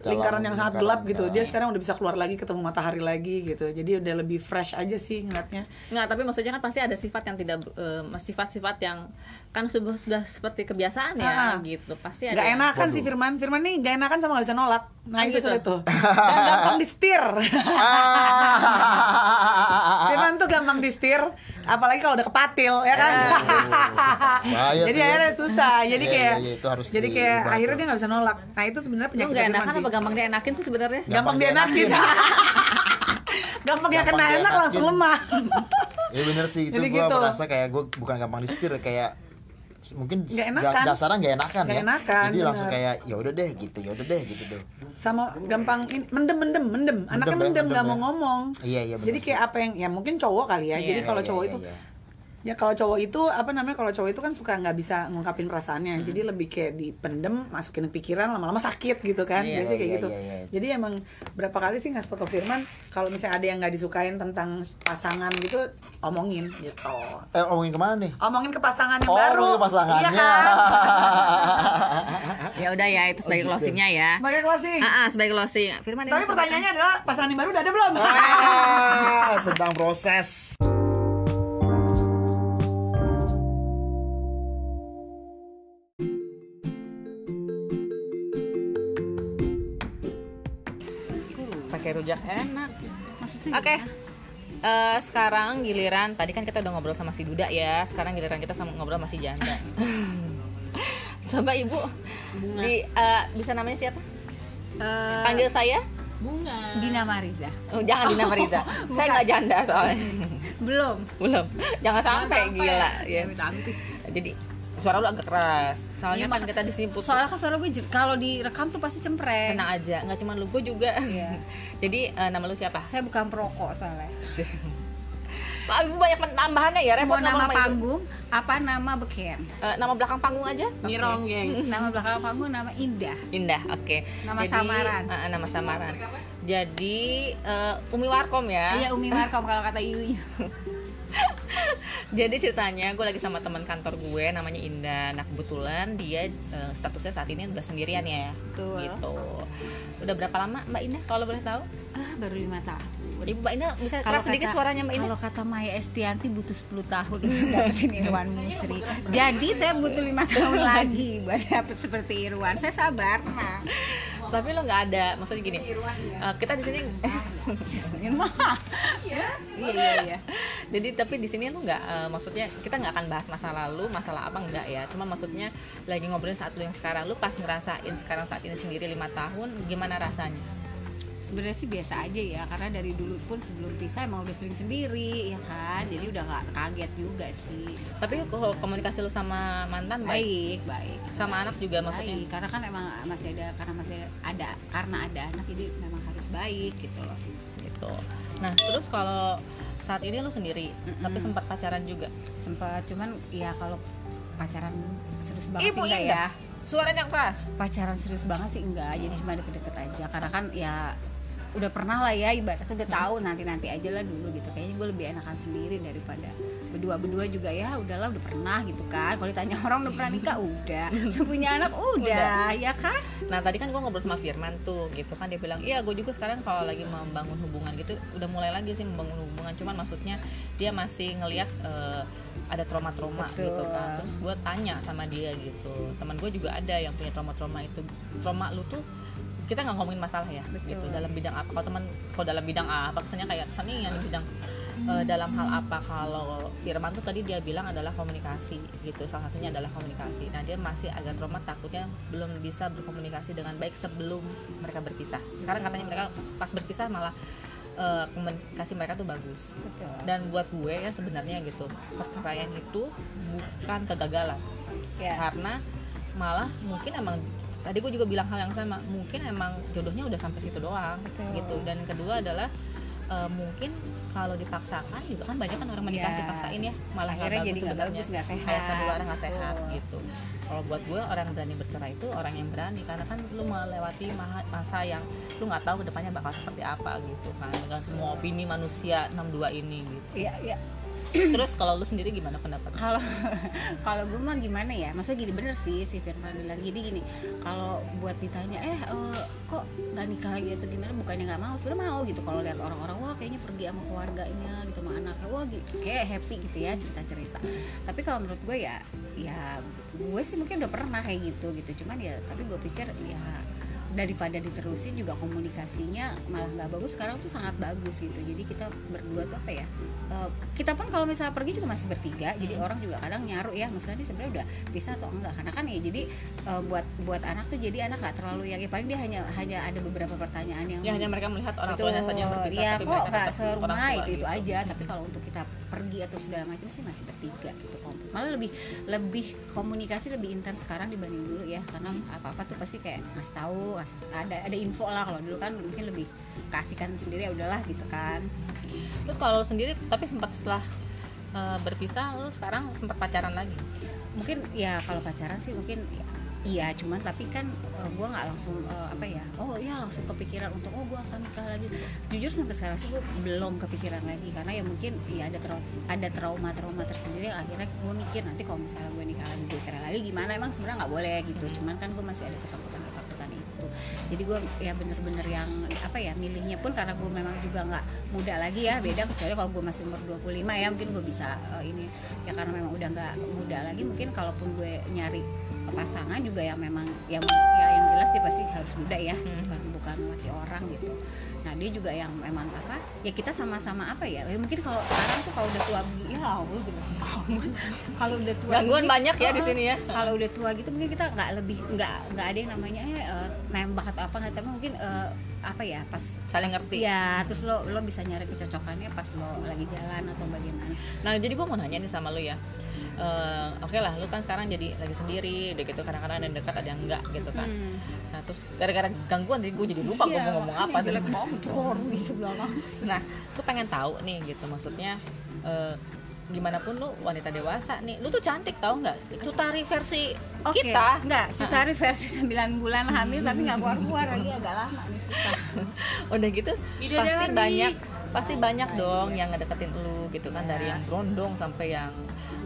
Speaker 2: Dalam
Speaker 4: lingkaran yang sangat
Speaker 2: lingkaran,
Speaker 4: gelap gitu.
Speaker 2: ya.
Speaker 4: Dia sekarang udah bisa keluar lagi ketemu matahari lagi gitu jadi udah lebih fresh aja sih ngeliatnya
Speaker 3: nggak tapi maksudnya kan pasti ada sifat yang tidak ber- eh, sifat-sifat yang kan sudah sudah seperti kebiasaan ya
Speaker 4: Ah.
Speaker 3: gitu pasti ada
Speaker 4: nggak
Speaker 3: yang-
Speaker 4: enakan
Speaker 2: Waduh.
Speaker 4: sih Firman Firman nih nggak enakan sama nggak bisa nolak nah
Speaker 3: Oh,
Speaker 4: itu
Speaker 3: gitu.
Speaker 4: sulit tuh dan gampang di setir
Speaker 2: Ah.
Speaker 4: Firman tuh gampang di setir apalagi kalau udah kepatil ya kan
Speaker 2: Iya, Bahaya
Speaker 4: jadi
Speaker 2: tuh ya.
Speaker 4: akhirnya susah jadi
Speaker 2: Iya,
Speaker 4: kayak
Speaker 2: iya, iya, itu harus
Speaker 4: jadi kayak
Speaker 2: diubah
Speaker 4: akhirnya
Speaker 2: tuh.
Speaker 4: dia nggak bisa nolak nah itu sebenarnya
Speaker 3: lu
Speaker 4: penyakit
Speaker 3: nggak
Speaker 4: Firman
Speaker 3: enakan
Speaker 4: sih
Speaker 3: apa gampang dienakin sih sebenarnya
Speaker 4: gampang,
Speaker 2: dienakin.
Speaker 4: dienakin gampang dia
Speaker 2: Gampang
Speaker 4: kena enak
Speaker 2: dienakin.
Speaker 4: langsung lemah
Speaker 2: Iya bener sih itu
Speaker 4: Jadi
Speaker 2: gue
Speaker 4: gitu.
Speaker 2: merasa kayak gue bukan gampang disetir kayak s- mungkin
Speaker 4: Nggak
Speaker 2: s-
Speaker 4: enakan.
Speaker 2: da- dasarnya nggak enakan
Speaker 4: Nggak
Speaker 2: ya
Speaker 4: enakan,
Speaker 2: jadi langsung
Speaker 4: bener.
Speaker 2: kayak ya udah deh gitu ya udah deh gitu tuh
Speaker 4: sama gampang in- mendem mendem mendem
Speaker 2: Mendem
Speaker 4: anaknya
Speaker 2: ya,
Speaker 4: mendem nggak
Speaker 2: mendem
Speaker 4: mau
Speaker 2: ya.
Speaker 4: ngomong
Speaker 2: Iya, iya, benar
Speaker 4: jadi kayak
Speaker 2: sih.
Speaker 4: apa yang ya mungkin cowok kali ya
Speaker 3: Iya,
Speaker 4: jadi
Speaker 2: iya,
Speaker 4: kalau
Speaker 2: iya,
Speaker 4: cowok
Speaker 2: iya,
Speaker 4: itu
Speaker 2: iya.
Speaker 4: ya kalau cowok itu apa namanya kalau cowok itu kan suka nggak bisa ngungkapin perasaannya jadi lebih kayak dipendem masukin ke pikiran lama-lama sakit gitu kan
Speaker 3: Iya,
Speaker 4: biasanya kayak
Speaker 2: iya,
Speaker 4: gitu
Speaker 2: iya, iya.
Speaker 4: jadi emang berapa kali sih ngasih tau ke Firman kalau misalnya ada yang nggak disukain tentang pasangan gitu omongin gitu
Speaker 2: eh omongin kemana nih
Speaker 4: omongin ke pasangan yang
Speaker 2: Oh,
Speaker 4: baru
Speaker 2: omongin ke pasangannya.
Speaker 4: iya kan
Speaker 3: ya udah ya itu
Speaker 2: Oh, gitu.
Speaker 3: sebagai closingnya ya
Speaker 4: sebagai closing
Speaker 3: ah, ah, sebagai closing Firman ini
Speaker 4: tapi
Speaker 3: sebagai-
Speaker 4: pertanyaannya adalah pasangan yang baru udah ada belum
Speaker 2: Oh, Ah, sedang proses
Speaker 3: pakai rujak enak oke Eh, sekarang giliran tadi kan kita udah ngobrol sama si Duda ya sekarang giliran kita sama ngobrol sama si Janda coba ibu di eh, bisa namanya siapa panggil saya
Speaker 5: Dina Mariza
Speaker 3: Eh, Oh, jangan Dina Fariza saya nggak janda soalnya
Speaker 5: belum
Speaker 3: belum jangan sampai, gila ya.
Speaker 5: cantik
Speaker 3: jadi suara lu agak keras soalnya kan kita di sini putih.
Speaker 5: soalnya kan suara gue jer- kalau direkam tuh pasti cempreng
Speaker 3: tenang aja nggak cuma lu gue juga jadi eh, nama lu siapa
Speaker 5: saya bukan perokok soalnya
Speaker 3: Pak, ibu banyak pen- tambahannya ya repot
Speaker 5: mau
Speaker 3: ngomong sama
Speaker 5: nama
Speaker 3: ibu.
Speaker 5: panggung apa nama beken
Speaker 3: Eh, nama belakang panggung aja
Speaker 1: Nyirong,
Speaker 5: ya.
Speaker 1: geng.
Speaker 5: nama belakang panggung nama Indah
Speaker 3: Indah, oke.
Speaker 5: Nama samaran.
Speaker 3: eh, eh, nama samaran. Jadi eh, Umi Warkom ya.
Speaker 5: iya Umi Markom kalau kata Iu Iu.
Speaker 3: Jadi ceritanya gue lagi sama teman kantor gue namanya Indah. Nah kebetulan dia eh, statusnya saat ini udah sendirian ya.
Speaker 5: Betul.
Speaker 3: Gitu. Udah berapa lama Mbak Indah kalau boleh tahu?
Speaker 5: ah baru lima tahun
Speaker 3: Ibu Mbak Indah bisa keras sedikit suaranya Mbak Indah.
Speaker 5: kalau kata Maya Estianti butuh 10 tahun untuk dapetin Irwan Musri. Jadi saya butuh lima tahun lagi buat dapet seperti Irwan. Saya sabar, tenang.
Speaker 3: tapi lo nggak ada maksudnya gini eh, kita di sini Jasmine mah
Speaker 5: iya iya iya
Speaker 3: jadi tapi di sini lu nggak eh, maksudnya kita nggak akan bahas masa lalu masalah apa enggak ya cuma maksudnya lagi ngobrolin saat lu yang sekarang lu pas ngerasain sekarang saat ini sendiri lima tahun gimana rasanya
Speaker 5: sebenarnya sih biasa aja ya karena dari dulu pun sebelum pisah emang udah sering sendiri ya kan jadi udah nggak kaget juga sih
Speaker 3: tapi kalau komunikasi lu sama mantan baik
Speaker 5: baik baik
Speaker 3: sama anak juga maksudnya
Speaker 5: baik karena kan emang masih ada karena masih ada karena ada anak jadi memang harus baik gitu loh
Speaker 3: gitu nah terus kalau saat ini lu sendiri tapi sempat pacaran juga
Speaker 5: sempat cuman ya kalau pacaran serius banget
Speaker 3: ibu
Speaker 5: sih enggak ya
Speaker 3: indah Iya, suaranya keras
Speaker 5: pacaran serius banget sih enggak jadi cuma deket-deket aja karena kan ya udah pernah lah ya ibaratnya udah tahu nanti-nanti aja lah dulu gitu kayaknya gue lebih enakan sendiri daripada berdua-berdua juga ya udahlah udah pernah gitu kan kalau ditanya orang udah pernah nikah udah Udah punya anak udah, ya kan
Speaker 3: Nah tadi kan gue ngobrol sama Firman tuh gitu kan dia bilang iya gue juga sekarang kalau lagi membangun hubungan gitu udah mulai lagi sih membangun hubungan cuman maksudnya dia masih ngelihat eh, ada trauma-trauma
Speaker 5: Betul.
Speaker 3: gitu kan terus gue tanya sama dia gitu teman gue juga ada yang punya trauma-trauma itu trauma lu tuh kita nggak ngomongin masalah ya gitu
Speaker 5: Betul.
Speaker 3: dalam bidang apa kalau teman kalau dalam bidang apa kesannya kayak kesenian bidang eh, dalam hal apa kalau Firman tuh tadi dia bilang adalah komunikasi gitu salah satunya adalah komunikasi nah dia masih agak trauma takutnya belum bisa berkomunikasi dengan baik sebelum mereka berpisah sekarang katanya mereka pas- pas berpisah malah eh, komunikasi mereka tuh bagus
Speaker 5: Betul.
Speaker 3: dan buat gue ya sebenarnya gitu perceraian itu bukan kegagalan
Speaker 5: Ya.
Speaker 3: karena malah mungkin emang tadi gue juga bilang hal yang sama mungkin emang jodohnya udah sampai situ doang
Speaker 5: Betul.
Speaker 3: gitu dan kedua adalah eh, mungkin kalau dipaksakan juga kan banyak kan orang menikah
Speaker 5: Ya.
Speaker 3: dipaksain ya malah nggak bagus
Speaker 5: Akhirnya jadi nggak
Speaker 3: sebenarnya.
Speaker 5: bagus, nggak sehat.
Speaker 3: Kayak satu orang nggak
Speaker 5: Betul.
Speaker 3: sehat gitu kalau buat gue orang yang berani bercerai itu orang yang berani karena kan lu melewati maha- masa yang lu nggak tahu kedepannya bakal seperti apa gitu kan dengan semua opini manusia 62 ini gitu
Speaker 5: iya iya
Speaker 3: terus kalau lu sendiri gimana pendapat
Speaker 5: kalau kalau gue mah gimana ya maksudnya gini bener sih si Firman bilang gini gini kalau buat ditanya eh eh, kok gak nikah lagi atau gimana bukannya nggak mau sebenarnya mau gitu kalau lihat orang-orang wah kayaknya pergi sama keluarganya gitu sama anaknya wah gitu kayak happy gitu ya cerita cerita tapi kalau menurut gue ya ya gue sih mungkin udah pernah kayak gitu gitu cuman ya tapi gue pikir ya daripada diterusin juga komunikasinya malah nggak bagus sekarang tuh sangat bagus gitu jadi kita berdua tuh apa ya eh, kita pun kalau misalnya pergi juga masih bertiga jadi
Speaker 3: Hmm.
Speaker 5: orang juga kadang nyaru ya misalnya sebenarnya udah pisah atau enggak karena kan ya jadi eh, buat buat anak tuh jadi anak nggak terlalu yang ya paling dia hanya hanya ada beberapa pertanyaan yang
Speaker 3: ya hanya mereka melihat orang
Speaker 5: Betul.
Speaker 3: tuanya saja yang berpisah
Speaker 5: Iya,
Speaker 3: tapi
Speaker 5: kok
Speaker 3: mereka
Speaker 5: nggak
Speaker 3: tetap
Speaker 5: serumah
Speaker 3: orang tua
Speaker 5: itu itu
Speaker 3: gitu.
Speaker 5: aja tapi kalau untuk kita pergi atau segala macam sih masih bertiga gitu komplit malah lebih lebih komunikasi lebih intens sekarang dibanding dulu ya karena
Speaker 3: Hmm.
Speaker 5: apa apa tuh pasti kayak ngasih tahu ngasih- ada ada info lah kalau dulu kan mungkin lebih kasihkan sendiri ya udahlah gitu kan
Speaker 3: terus kalau lu sendiri tapi sempat setelah eh, berpisah lu sekarang sempat pacaran lagi
Speaker 5: mungkin ya kalau pacaran sih mungkin ya, iya cuman tapi kan eh, gua nggak langsung eh, apa ya oh iya langsung kepikiran untuk oh gua akan nikah lagi jujur sampai sekarang sih gue belum kepikiran lagi karena ya mungkin ya ada trauma ada trauma trauma tersendiri yang akhirnya gue mikir nanti kalau misalnya gue nikah lagi gue cerai lagi gimana emang sebenarnya nggak boleh gitu cuman kan gue masih ada ketakutan ketakutan itu jadi gue ya bener-bener yang apa ya milihnya pun karena gue memang juga nggak muda lagi ya beda kecuali kalau gue masih umur 25 ya mungkin gue bisa eh, ini ya karena memang udah nggak muda lagi mungkin kalaupun gue nyari pasangan juga yang memang yang ya yang jelas dia pasti harus muda ya
Speaker 3: Hmm.
Speaker 5: bukan bukan laki orang gitu nah dia juga yang memang apa ya kita sama-sama apa ya, ya mungkin kalau sekarang tuh kalau udah tua begini ya Allah gila banget. kalau udah tua
Speaker 3: Gangguan
Speaker 5: begini,
Speaker 3: banyak ya di
Speaker 5: oh,
Speaker 3: sini ya.
Speaker 5: kalau udah tua gitu mungkin kita nggak lebih nggak nggak ada yang namanya eh, eh, nembak atau apa nggak tapi mungkin eh, apa ya pas
Speaker 3: Saling
Speaker 5: pas-
Speaker 3: ngerti.
Speaker 5: ya terus lo lo bisa nyari kecocokannya pas lo lagi jalan atau bagaimana
Speaker 3: Nah jadi gue mau nanya nih sama lu ya Eh, Oke lah lu kan sekarang jadi lagi sendiri udah gitu kadang-kadang ada yang dekat ada yang enggak gitu kan
Speaker 5: Hmm.
Speaker 3: Nah terus gara-gara gangguan jadi gue jadi lupa gue mau ngomong apa
Speaker 5: Iya, jelek
Speaker 3: tadi.
Speaker 5: banget orang di sebelah langsung
Speaker 3: Nah gue pengen tahu nih gitu maksudnya eh, Gimana pun lu wanita dewasa nih Lu tuh cantik tau nggak? Cutari versi
Speaker 5: Oke,
Speaker 3: kita Ah.
Speaker 5: enggak, Cusari versi 9 bulan hamil tapi nggak keluar-keluar lagi agak lama nih susah.
Speaker 3: udah gitu pasti
Speaker 5: Bidadari.
Speaker 3: banyak pasti banyak
Speaker 5: Iya,
Speaker 3: dong yang ngedeketin lu gitu kan dari yang berondong sampai yang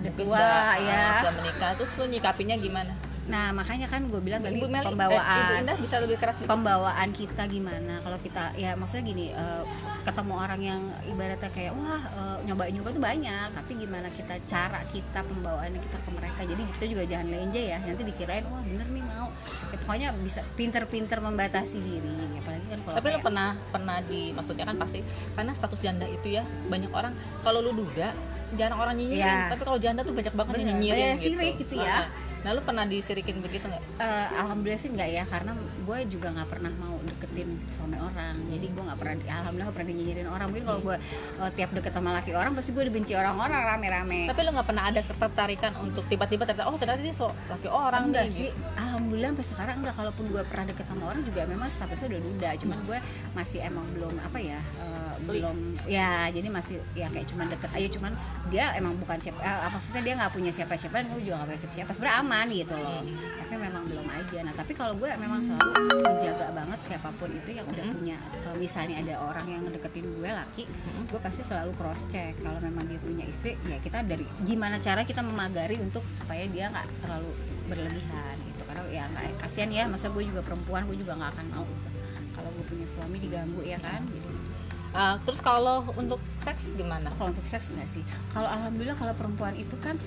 Speaker 5: Udah
Speaker 3: terus
Speaker 5: tua,
Speaker 3: udah, ah,
Speaker 5: ya.
Speaker 3: sudah menikah terus lu nyikapinya gimana
Speaker 5: Nah makanya kan gue bilang tadi
Speaker 3: Ibu Meli, eh, Ibu
Speaker 5: pembawaan
Speaker 3: Indah bisa lebih keras dikit.
Speaker 5: pembawaan kita gimana kalau kita ya maksudnya gini eh, ketemu orang yang ibaratnya kayak wah nyoba nyoba tuh banyak tapi gimana kita cara kita pembawaannya kita ke mereka jadi kita juga jangan lenje ya nanti dikirain wah bener nih mau Ya, pokoknya bisa pinter-pinter membatasi diri apalagi kan kalau
Speaker 3: tapi lo
Speaker 5: kayak-
Speaker 3: pernah pernah di maksudnya kan pasti karena status janda itu ya banyak orang kalau lu duda jarang orang nyinyirin
Speaker 5: Iya.
Speaker 3: tapi kalau janda tuh banyak banget yang
Speaker 5: Bener,
Speaker 3: nyinyirin
Speaker 5: banyak sirik gitu ya.
Speaker 3: Nah, nah lu pernah disirikin begitu nggak
Speaker 5: Eh, alhamdulillah sih nggak ya karena gue juga nggak pernah mau deketin suami orang jadi gue nggak pernah di- alhamdulillah nggak pernah nyinyirin orang mungkin
Speaker 3: Iya.
Speaker 5: kalau gue eh, tiap deket sama laki orang pasti gue dibenci orang-orang rame-rame
Speaker 3: tapi lu nggak pernah ada ketertarikan untuk tiba-tiba ternyata oh ternyata dia so, laki orang
Speaker 5: enggak
Speaker 3: nih,
Speaker 5: sih
Speaker 3: gitu.
Speaker 5: alhamdulillah sampai sekarang enggak kalaupun gue pernah deket sama orang juga memang statusnya udah duda cuman gue masih emang belum apa ya eh, belum ya jadi masih ya kayak cuman deket aja cuman dia emang bukan siapa eh, maksudnya dia nggak punya siapa-siapa dan gue juga nggak punya siapa-siapa sebenarnya aman gitu loh
Speaker 3: Hmm.
Speaker 5: tapi memang belum aja nah tapi kalau gue memang selalu menjaga banget siapapun itu yang udah punya eh, misalnya ada orang yang deketin gue laki gue pasti selalu cross check kalau memang dia punya istri ya kita dari gimana cara kita memagari untuk supaya dia nggak terlalu berlebihan gitu karena ya nggak kasihan ya masa gue juga perempuan gue juga nggak akan mau gitu. kalau gue punya suami diganggu ya kan gitu, gitu sih.
Speaker 3: Ah, terus kalau untuk seks gimana
Speaker 5: kalau untuk seks nggak sih kalau alhamdulillah kalau perempuan itu kan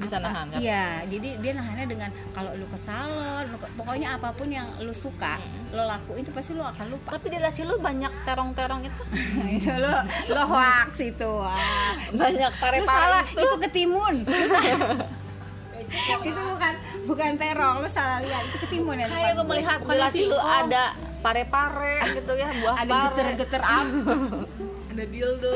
Speaker 3: Bisa
Speaker 5: apa-
Speaker 3: nahan, kan?
Speaker 5: iya jadi dia nahannya dengan kalau lu ke salon lu ke- pokoknya apapun yang lu suka lo lakuin itu pasti lu akan lupa
Speaker 3: tapi di laci lu banyak terong-terong itu
Speaker 5: itu lo lo hoax itu wah.
Speaker 3: banyak
Speaker 5: lu
Speaker 3: pare-pare
Speaker 5: salah
Speaker 3: itu.
Speaker 5: itu, ketimun Lu salah. itu bukan bukan terong lu salah lihat itu ketimun ya
Speaker 3: kayak gue melihat di laci lu ada pare-pare gitu ya buah
Speaker 5: ada
Speaker 3: pare.
Speaker 5: geter-geter apa
Speaker 3: ada dildo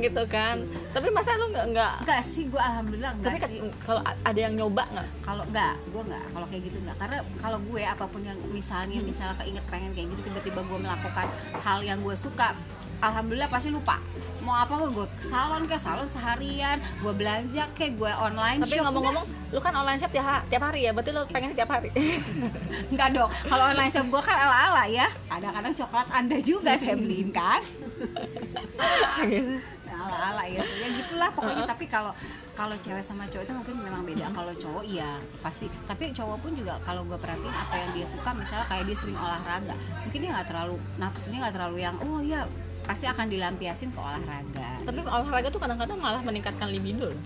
Speaker 3: gitu kan tapi masa lu nggak nggak
Speaker 5: enggak sih gue alhamdulillah
Speaker 3: tapi
Speaker 5: enggak sih
Speaker 3: kat- kalau a- ada yang nyoba nggak
Speaker 5: kalau enggak gue enggak kalau kayak gitu enggak karena kalau gue apapun yang misalnya
Speaker 3: Hmm.
Speaker 5: misalnya keinget pengen kayak gitu tiba-tiba gue melakukan hal yang gue suka alhamdulillah pasti lupa mau apa gue gue ke salon ke salon seharian gue belanja ke gue online
Speaker 3: tapi
Speaker 5: shop,
Speaker 3: ngomong-ngomong lu kan online shop tiap, ha- tiap hari ya berarti lu pengen tiap hari
Speaker 5: Enggak dong, kalau online shop gue kan ala-ala ya Kadang-kadang coklat anda juga saya beliin kan Nah, ala-ala ya, ya gitulah pokoknya tapi kalau kalau cewek sama cowok itu mungkin memang beda kalau cowok iya pasti tapi cowok pun juga kalau gue perhatiin apa yang dia suka misalnya kayak dia sering olahraga mungkin dia nggak terlalu nafsunya nggak terlalu yang oh ya pasti akan dilampiasin ke olahraga
Speaker 3: tapi olahraga tuh kadang-kadang malah meningkatkan libido loh.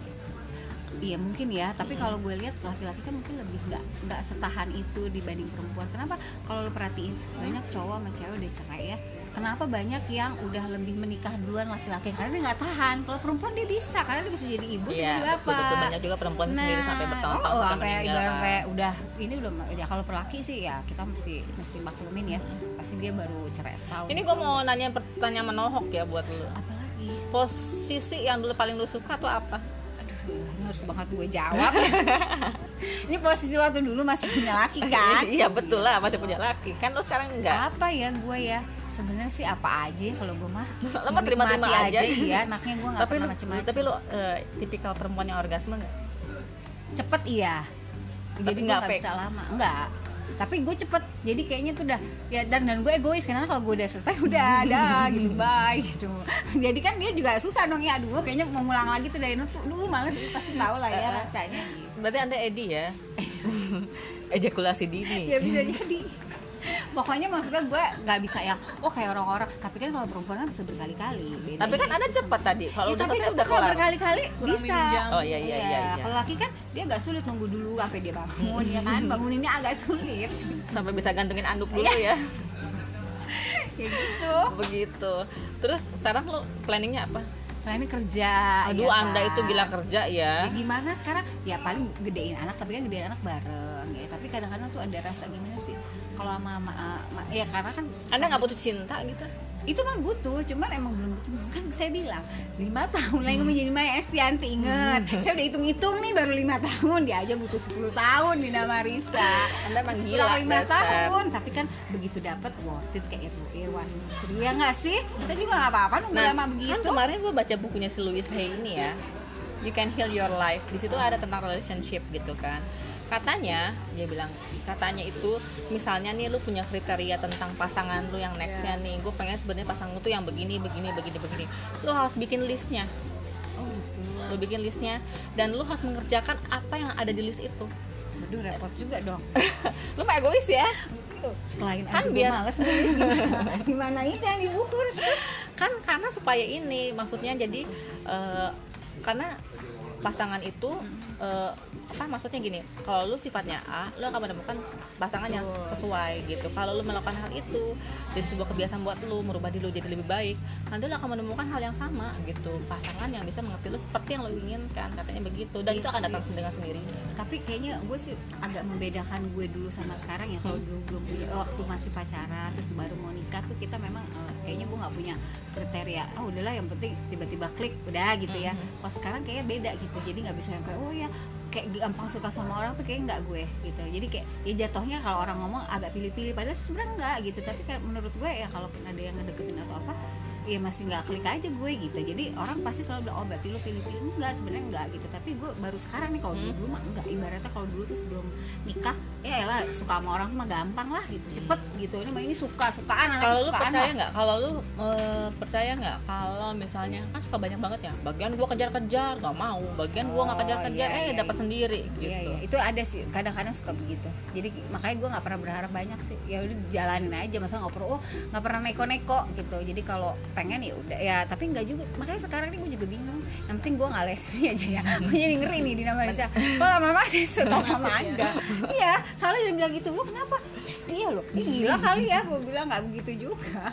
Speaker 5: Iya mungkin ya, tapi kalau gue lihat laki-laki kan mungkin lebih nggak nggak setahan itu dibanding perempuan. Kenapa? Kalau lo perhatiin banyak cowok sama cewek udah cerai ya. Kenapa banyak yang udah lebih menikah duluan laki-laki karena dia nggak tahan. Kalau perempuan dia bisa karena dia bisa jadi ibu, bisa
Speaker 3: Iya,
Speaker 5: jadi bapak.
Speaker 3: betul-betul banyak juga perempuan sendiri sampai bertahun-tahun
Speaker 5: oh,
Speaker 3: sampai
Speaker 5: sampai
Speaker 3: meninggal,
Speaker 5: ibarat
Speaker 3: kan.
Speaker 5: sampai udah ini udah ya kalau perlaki sih ya kita mesti mesti maklumin ya. Pasti dia baru cerai setahun.
Speaker 3: ini gue mau nanya pertanyaan menohok ya buat lu
Speaker 5: apalagi?
Speaker 3: posisi yang dulu paling lu suka tuh apa
Speaker 5: Aduh, ini harus banget gue jawab. ini posisi waktu dulu masih punya laki kan?
Speaker 3: iya betul lah masih punya laki kan lu sekarang enggak
Speaker 5: apa ya gue ya sebenarnya sih apa aja ya kalau gue mah
Speaker 3: Lo mah terima-terima
Speaker 5: Menikmati
Speaker 3: aja.
Speaker 5: iya anaknya gue nggak
Speaker 3: tapi
Speaker 5: pernah
Speaker 3: lu
Speaker 5: macem-macem
Speaker 3: tapi lu eh, tipikal perempuan yang orgasme nggak
Speaker 5: cepet iya jadi gue
Speaker 3: nggak
Speaker 5: nggak
Speaker 3: fake.
Speaker 5: bisa lama enggak tapi gue cepet jadi kayaknya tuh udah ya dan dan gue egois karena kalau gue udah selesai udah ada gitu bye gitu jadi kan dia juga susah dong ya aduh kayaknya mau ngulang lagi tuh dari nol dulu males pasti tahu lah ya rasanya
Speaker 3: berarti anda Edi ya ejakulasi dini
Speaker 5: ya bisa jadi pokoknya maksudnya gue nggak bisa yang oh kayak orang-orang tapi kan kalau perempuan kan bisa berkali-kali Beda
Speaker 3: tapi kan
Speaker 5: gitu.
Speaker 3: anda cepat tadi kalau
Speaker 5: Ya,
Speaker 3: udah
Speaker 5: tapi
Speaker 3: selesai
Speaker 5: cepet
Speaker 3: udah
Speaker 5: kalau
Speaker 3: kelar
Speaker 5: berkali-kali bisa.
Speaker 3: Oh, iya, iya, iya, iya.
Speaker 5: Kalau laki kan dia nggak sulit nunggu dulu sampai dia bangun ya kan. Banguninnya agak sulit.
Speaker 3: sampai bisa gantengin anduk dulu ya
Speaker 5: ya gitu.
Speaker 3: begitu terus sekarang lo planningnya apa
Speaker 5: Karena ini kerja.
Speaker 3: aduh
Speaker 5: ya kan.
Speaker 3: anda itu gila kerja
Speaker 5: Ya,
Speaker 3: ya
Speaker 5: gimana sekarang? Ya paling gedein anak, tapi kan gedein anak bareng ya. Tapi kadang-kadang tuh ada rasa gimana sih? Kalau sama ma- ma- ya karena kan
Speaker 3: anda nggak butuh cinta gitu
Speaker 5: itu mah butuh cuman emang belum butuh kan saya bilang lima tahun lagi menjadi Maya Estianti inget
Speaker 3: Hmm.
Speaker 5: saya udah hitung-hitung nih baru lima tahun dia aja butuh 10 tahun di nama Risa
Speaker 3: Anda emang
Speaker 5: Terus
Speaker 3: gila,
Speaker 5: kurang lima
Speaker 3: dasar.
Speaker 5: tahun tapi kan begitu dapat worth it kayak Irwan Irwan Sri ya nggak sih saya juga nggak apa-apa nunggu
Speaker 3: nah
Speaker 5: lama
Speaker 3: kan
Speaker 5: begitu
Speaker 3: kemarin gue baca bukunya si Louis Hay ini ya You Can Heal Your Life di situ ada tentang relationship gitu kan katanya dia bilang katanya itu misalnya nih lu punya kriteria tentang pasangan lu yang nextnya
Speaker 5: Ya.
Speaker 3: nih gue pengen sebenarnya pasangan lu tuh yang begini begini begini begini lu harus bikin listnya
Speaker 5: oh gitu
Speaker 3: lu bikin listnya dan lu harus mengerjakan apa yang ada di list itu
Speaker 5: Aduh repot juga dong.
Speaker 3: lu mah egois ya
Speaker 5: Selain
Speaker 3: Kan
Speaker 5: aja gue
Speaker 3: biar-
Speaker 5: males nulis gimana, gimana itu yang diukur sis?
Speaker 3: kan karena supaya ini maksudnya jadi eh, karena pasangan itu eh, apa maksudnya gini kalau lu sifatnya A lu akan menemukan pasangan yang sesuai gitu kalau lu melakukan hal itu jadi sebuah kebiasaan buat lu merubah diri lu jadi lebih baik nanti lu akan menemukan hal yang sama gitu pasangan yang bisa mengerti lu seperti yang lu inginkan katanya begitu dan itu akan datang dengan sendirinya
Speaker 5: tapi kayaknya gue sih agak membedakan gue dulu sama sekarang ya kalau dulu belum punya eh, waktu masih pacaran terus baru mau nikah tuh kita memang eh, kayaknya gue nggak punya kriteria ah udahlah yang penting tiba-tiba klik udah gitu ya pas sekarang kayaknya beda gitu jadi nggak bisa yang kayak oh ya kayak gampang suka sama orang tuh kayaknya nggak gue gitu jadi kayak ya jatuhnya kalau orang ngomong agak pilih-pilih padahal sebenarnya nggak gitu tapi kan menurut gue ya kalaupun ada yang ngedeketin atau apa ya masih nggak klik aja gue gitu jadi orang pasti selalu bilang oh berarti lu pilih-pilih enggak sebenarnya enggak gitu tapi gue baru sekarang nih kalau
Speaker 3: Hmm.
Speaker 5: dulu dulu mah enggak ibaratnya kalau dulu tuh sebelum nikah ya elah suka sama orang mah gampang lah gitu cepet gitu ini mah ini suka sukaan anak
Speaker 3: kalau lu
Speaker 5: sukaan
Speaker 3: percaya
Speaker 5: lah.
Speaker 3: nggak kalau lu eh, percaya nggak kalau misalnya kan suka banyak banget ya bagian gua kejar-kejar nggak mau bagian gua nggak
Speaker 5: Oh,
Speaker 3: kejar-kejar
Speaker 5: iya,
Speaker 3: eh
Speaker 5: iya,
Speaker 3: dapat
Speaker 5: iya.
Speaker 3: sendiri gitu
Speaker 5: Iya, iya. itu ada sih kadang-kadang suka begitu jadi makanya gue nggak pernah berharap banyak sih ya udah jalanin aja masa nggak perlu oh nggak pernah neko-neko gitu jadi kalau pengen ya udah ya tapi nggak juga makanya sekarang ini gue juga bingung yang penting gue nggak lesbi aja ya gue jadi ngeri nih dinamalisasi kalau lama-lama saya suka sama anda iya soalnya dia bilang gitu lu kenapa lesbi ya lu Ih, gila kali ya gue bilang nggak begitu juga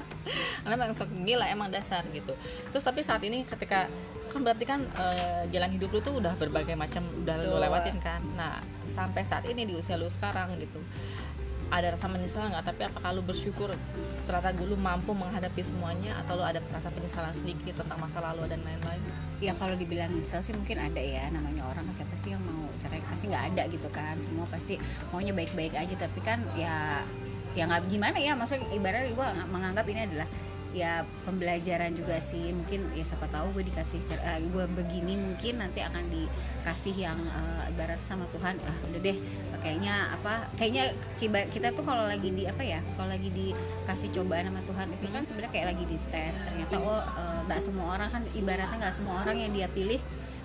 Speaker 3: karena memang suka gila emang dasar gitu terus tapi saat ini ketika kan berarti kan eh, jalan hidup lu tuh udah berbagai macam udah lu
Speaker 5: Betul.
Speaker 3: lewatin kan nah sampai saat ini di usia lu sekarang gitu ada rasa menyesal nggak tapi apakah lu bersyukur ternyata dulu mampu menghadapi semuanya atau lu ada rasa penyesalan sedikit tentang masa lalu dan lain-lain
Speaker 5: ya kalau dibilang nyesel sih mungkin ada ya namanya orang siapa sih yang mau cerai pasti nggak ada gitu kan semua pasti maunya baik-baik aja tapi kan ya ya nggak gimana ya maksudnya ibaratnya gue menganggap ini adalah ya pembelajaran juga sih mungkin ya siapa tahu gue dikasih cer- eh, gue begini mungkin nanti akan dikasih yang eh, ibarat sama Tuhan ah udah deh kayaknya apa kayaknya kiba- kita tuh kalau lagi di apa ya kalau lagi dikasih cobaan sama Tuhan itu kan sebenarnya kayak lagi dites ternyata oh eh, nggak semua orang kan ibaratnya nggak semua orang yang dia pilih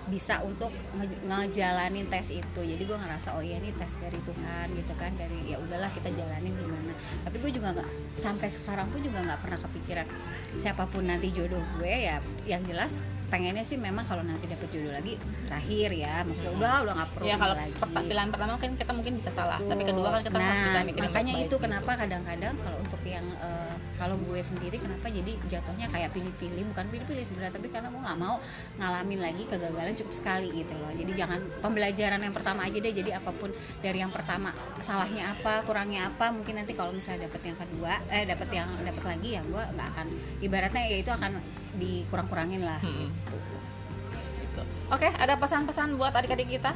Speaker 5: bisa untuk nge- ngejalanin tes itu jadi gue ngerasa oh iya ini tes dari Tuhan gitu kan dari ya udahlah kita jalanin gimana tapi gue juga nggak sampai sekarang pun juga nggak pernah kepikiran siapapun nanti jodoh gue ya yang jelas pengennya sih memang kalau nanti dapet jodoh lagi terakhir ya maksudnya udah udah nggak perlu
Speaker 3: ya kalau
Speaker 5: lagi
Speaker 3: perta- pilihan pertama kan kita mungkin bisa salah tapi
Speaker 5: Betul.
Speaker 3: kedua kan kita
Speaker 5: nah,
Speaker 3: harus bisa mikirin
Speaker 5: makanya
Speaker 3: baik-baik. gitu.
Speaker 5: itu kenapa kadang-kadang kalau untuk yang eh, kalau gue sendiri kenapa jadi jatuhnya kayak pilih-pilih bukan pilih-pilih sebenarnya tapi karena gue nggak mau ngalamin lagi kegagalan cukup sekali gitu loh jadi jangan pembelajaran yang pertama aja deh jadi apapun dari yang pertama salahnya apa kurangnya apa mungkin nanti kalau misalnya dapet yang kedua eh dapet yang dapet lagi ya gue nggak akan ibaratnya ya itu akan dikurang-kurangin lah
Speaker 3: Hmm. Gitu. Oke, ada pesan-pesan buat adik-adik kita?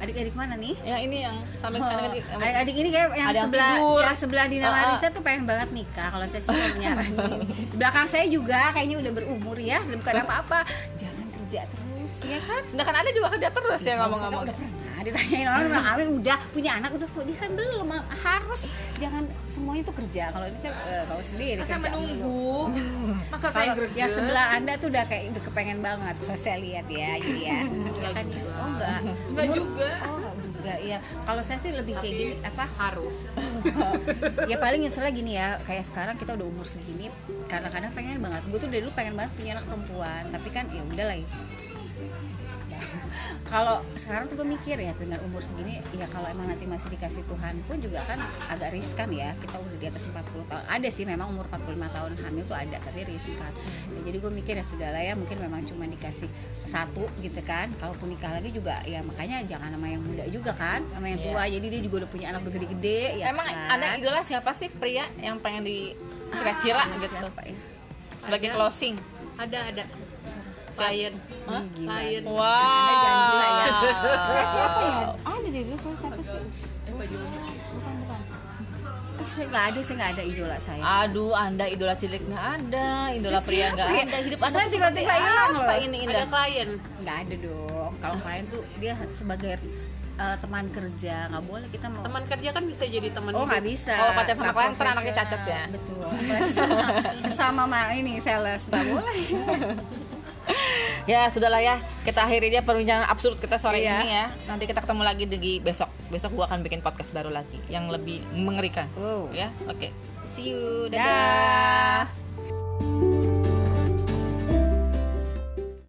Speaker 5: adik-adik mana nih
Speaker 3: Yang ini yang sampai
Speaker 5: Oh,
Speaker 3: adik-adik
Speaker 5: adik-adik ini kayak yang
Speaker 3: Ada yang
Speaker 5: sebelah
Speaker 3: tidur.
Speaker 5: yang sebelah Dina
Speaker 3: Oh, oh.
Speaker 5: Marisa tuh pengen banget nikah kalau saya sih mau nyaranin. Di belakang saya juga kayaknya udah berumur ya, bukan apa-apa. Jangan kerja terus ya kan?
Speaker 3: Sedangkan ada juga kerja terus ya
Speaker 5: Kalau saya kan
Speaker 3: ngomong-ngomong.
Speaker 5: udah pernah ditanyain orang udah kawin udah punya anak udah dia kan belum Mam. harus jangan semuanya tuh kerja kalau ini kan eh, kau sendiri
Speaker 3: Masa
Speaker 5: kerja dulu.
Speaker 3: menunggu. Masa saya
Speaker 5: Kalau yang
Speaker 3: greget.
Speaker 5: sebelah anda tuh udah kayak udah kepengen banget kalau saya lihat ya, jadi ya, ya kan ya. Oh enggak,
Speaker 3: Enggak
Speaker 5: Umur-
Speaker 3: juga.
Speaker 5: Oh enggak juga, ya. Kalau saya sih lebih kayak gini apa?
Speaker 3: harus.
Speaker 5: ya paling nyeselnya gini ya kayak sekarang kita udah umur segini kadang-kadang pengen banget gue tuh dari dulu pengen banget punya anak perempuan tapi kan ya udah lah ya. kalau sekarang tuh gue mikir ya dengan umur segini ya kalau emang nanti masih dikasih Tuhan pun juga kan agak riskan ya kita udah di atas 40 tahun ada sih memang umur 45 tahun hamil tuh ada tapi riskan Ya, jadi gue mikir ya sudah lah ya mungkin memang cuma dikasih satu gitu kan kalaupun nikah lagi juga ya makanya jangan sama yang muda juga kan sama yang tua jadi dia juga udah punya anak udah gede-gede
Speaker 3: Iya.
Speaker 5: ya
Speaker 3: Emang
Speaker 5: kan?
Speaker 3: ada idola siapa sih pria yang pengen di kira-kira
Speaker 5: Sama
Speaker 3: gitu
Speaker 5: Ah, siapa ya?
Speaker 3: sebagai
Speaker 1: Ada.
Speaker 3: closing.
Speaker 1: ada ada klien
Speaker 5: Hah?
Speaker 1: klien
Speaker 3: Wow.
Speaker 5: Anda jangan gila ya.
Speaker 3: Ah.
Speaker 5: Saya siapa ya? Ada deh dulu saya siapa sih?
Speaker 1: eh baju ungu.
Speaker 5: Bukan bukan. Eh, Saya nggak ada, saya nggak ada idola saya.
Speaker 3: Aduh, anda idola cilik nggak ada, idola pria nggak
Speaker 5: Siapa ya?
Speaker 3: ada, hidup
Speaker 5: Masa
Speaker 3: anda tuh
Speaker 5: tiba-tiba
Speaker 3: seperti
Speaker 5: hilang
Speaker 3: apa
Speaker 5: loh?
Speaker 3: Ini
Speaker 1: ada
Speaker 3: indah.
Speaker 1: klien
Speaker 5: Nggak ada dong. Kalau klien tuh dia sebagai eh, teman kerja nggak boleh kita mau.
Speaker 1: teman kerja kan bisa jadi teman
Speaker 5: Oh
Speaker 1: hidup.
Speaker 5: nggak bisa.
Speaker 3: Kalau pacar sama
Speaker 5: Nggak
Speaker 3: klien, ntar anaknya
Speaker 5: profesional.
Speaker 3: cacat ya?
Speaker 5: Betul. Apalagi sama, sesama ma ini sales nggak boleh.
Speaker 3: ya sudahlah ya kita akhiri aja perbincangan absurd kita sore
Speaker 5: Iya.
Speaker 3: ini ya nanti kita ketemu lagi di besok besok gua akan bikin podcast baru lagi yang
Speaker 5: Uh.
Speaker 3: lebih mengerikan
Speaker 5: Wow.
Speaker 3: ya oke see you Ya, dadah.
Speaker 5: Dah.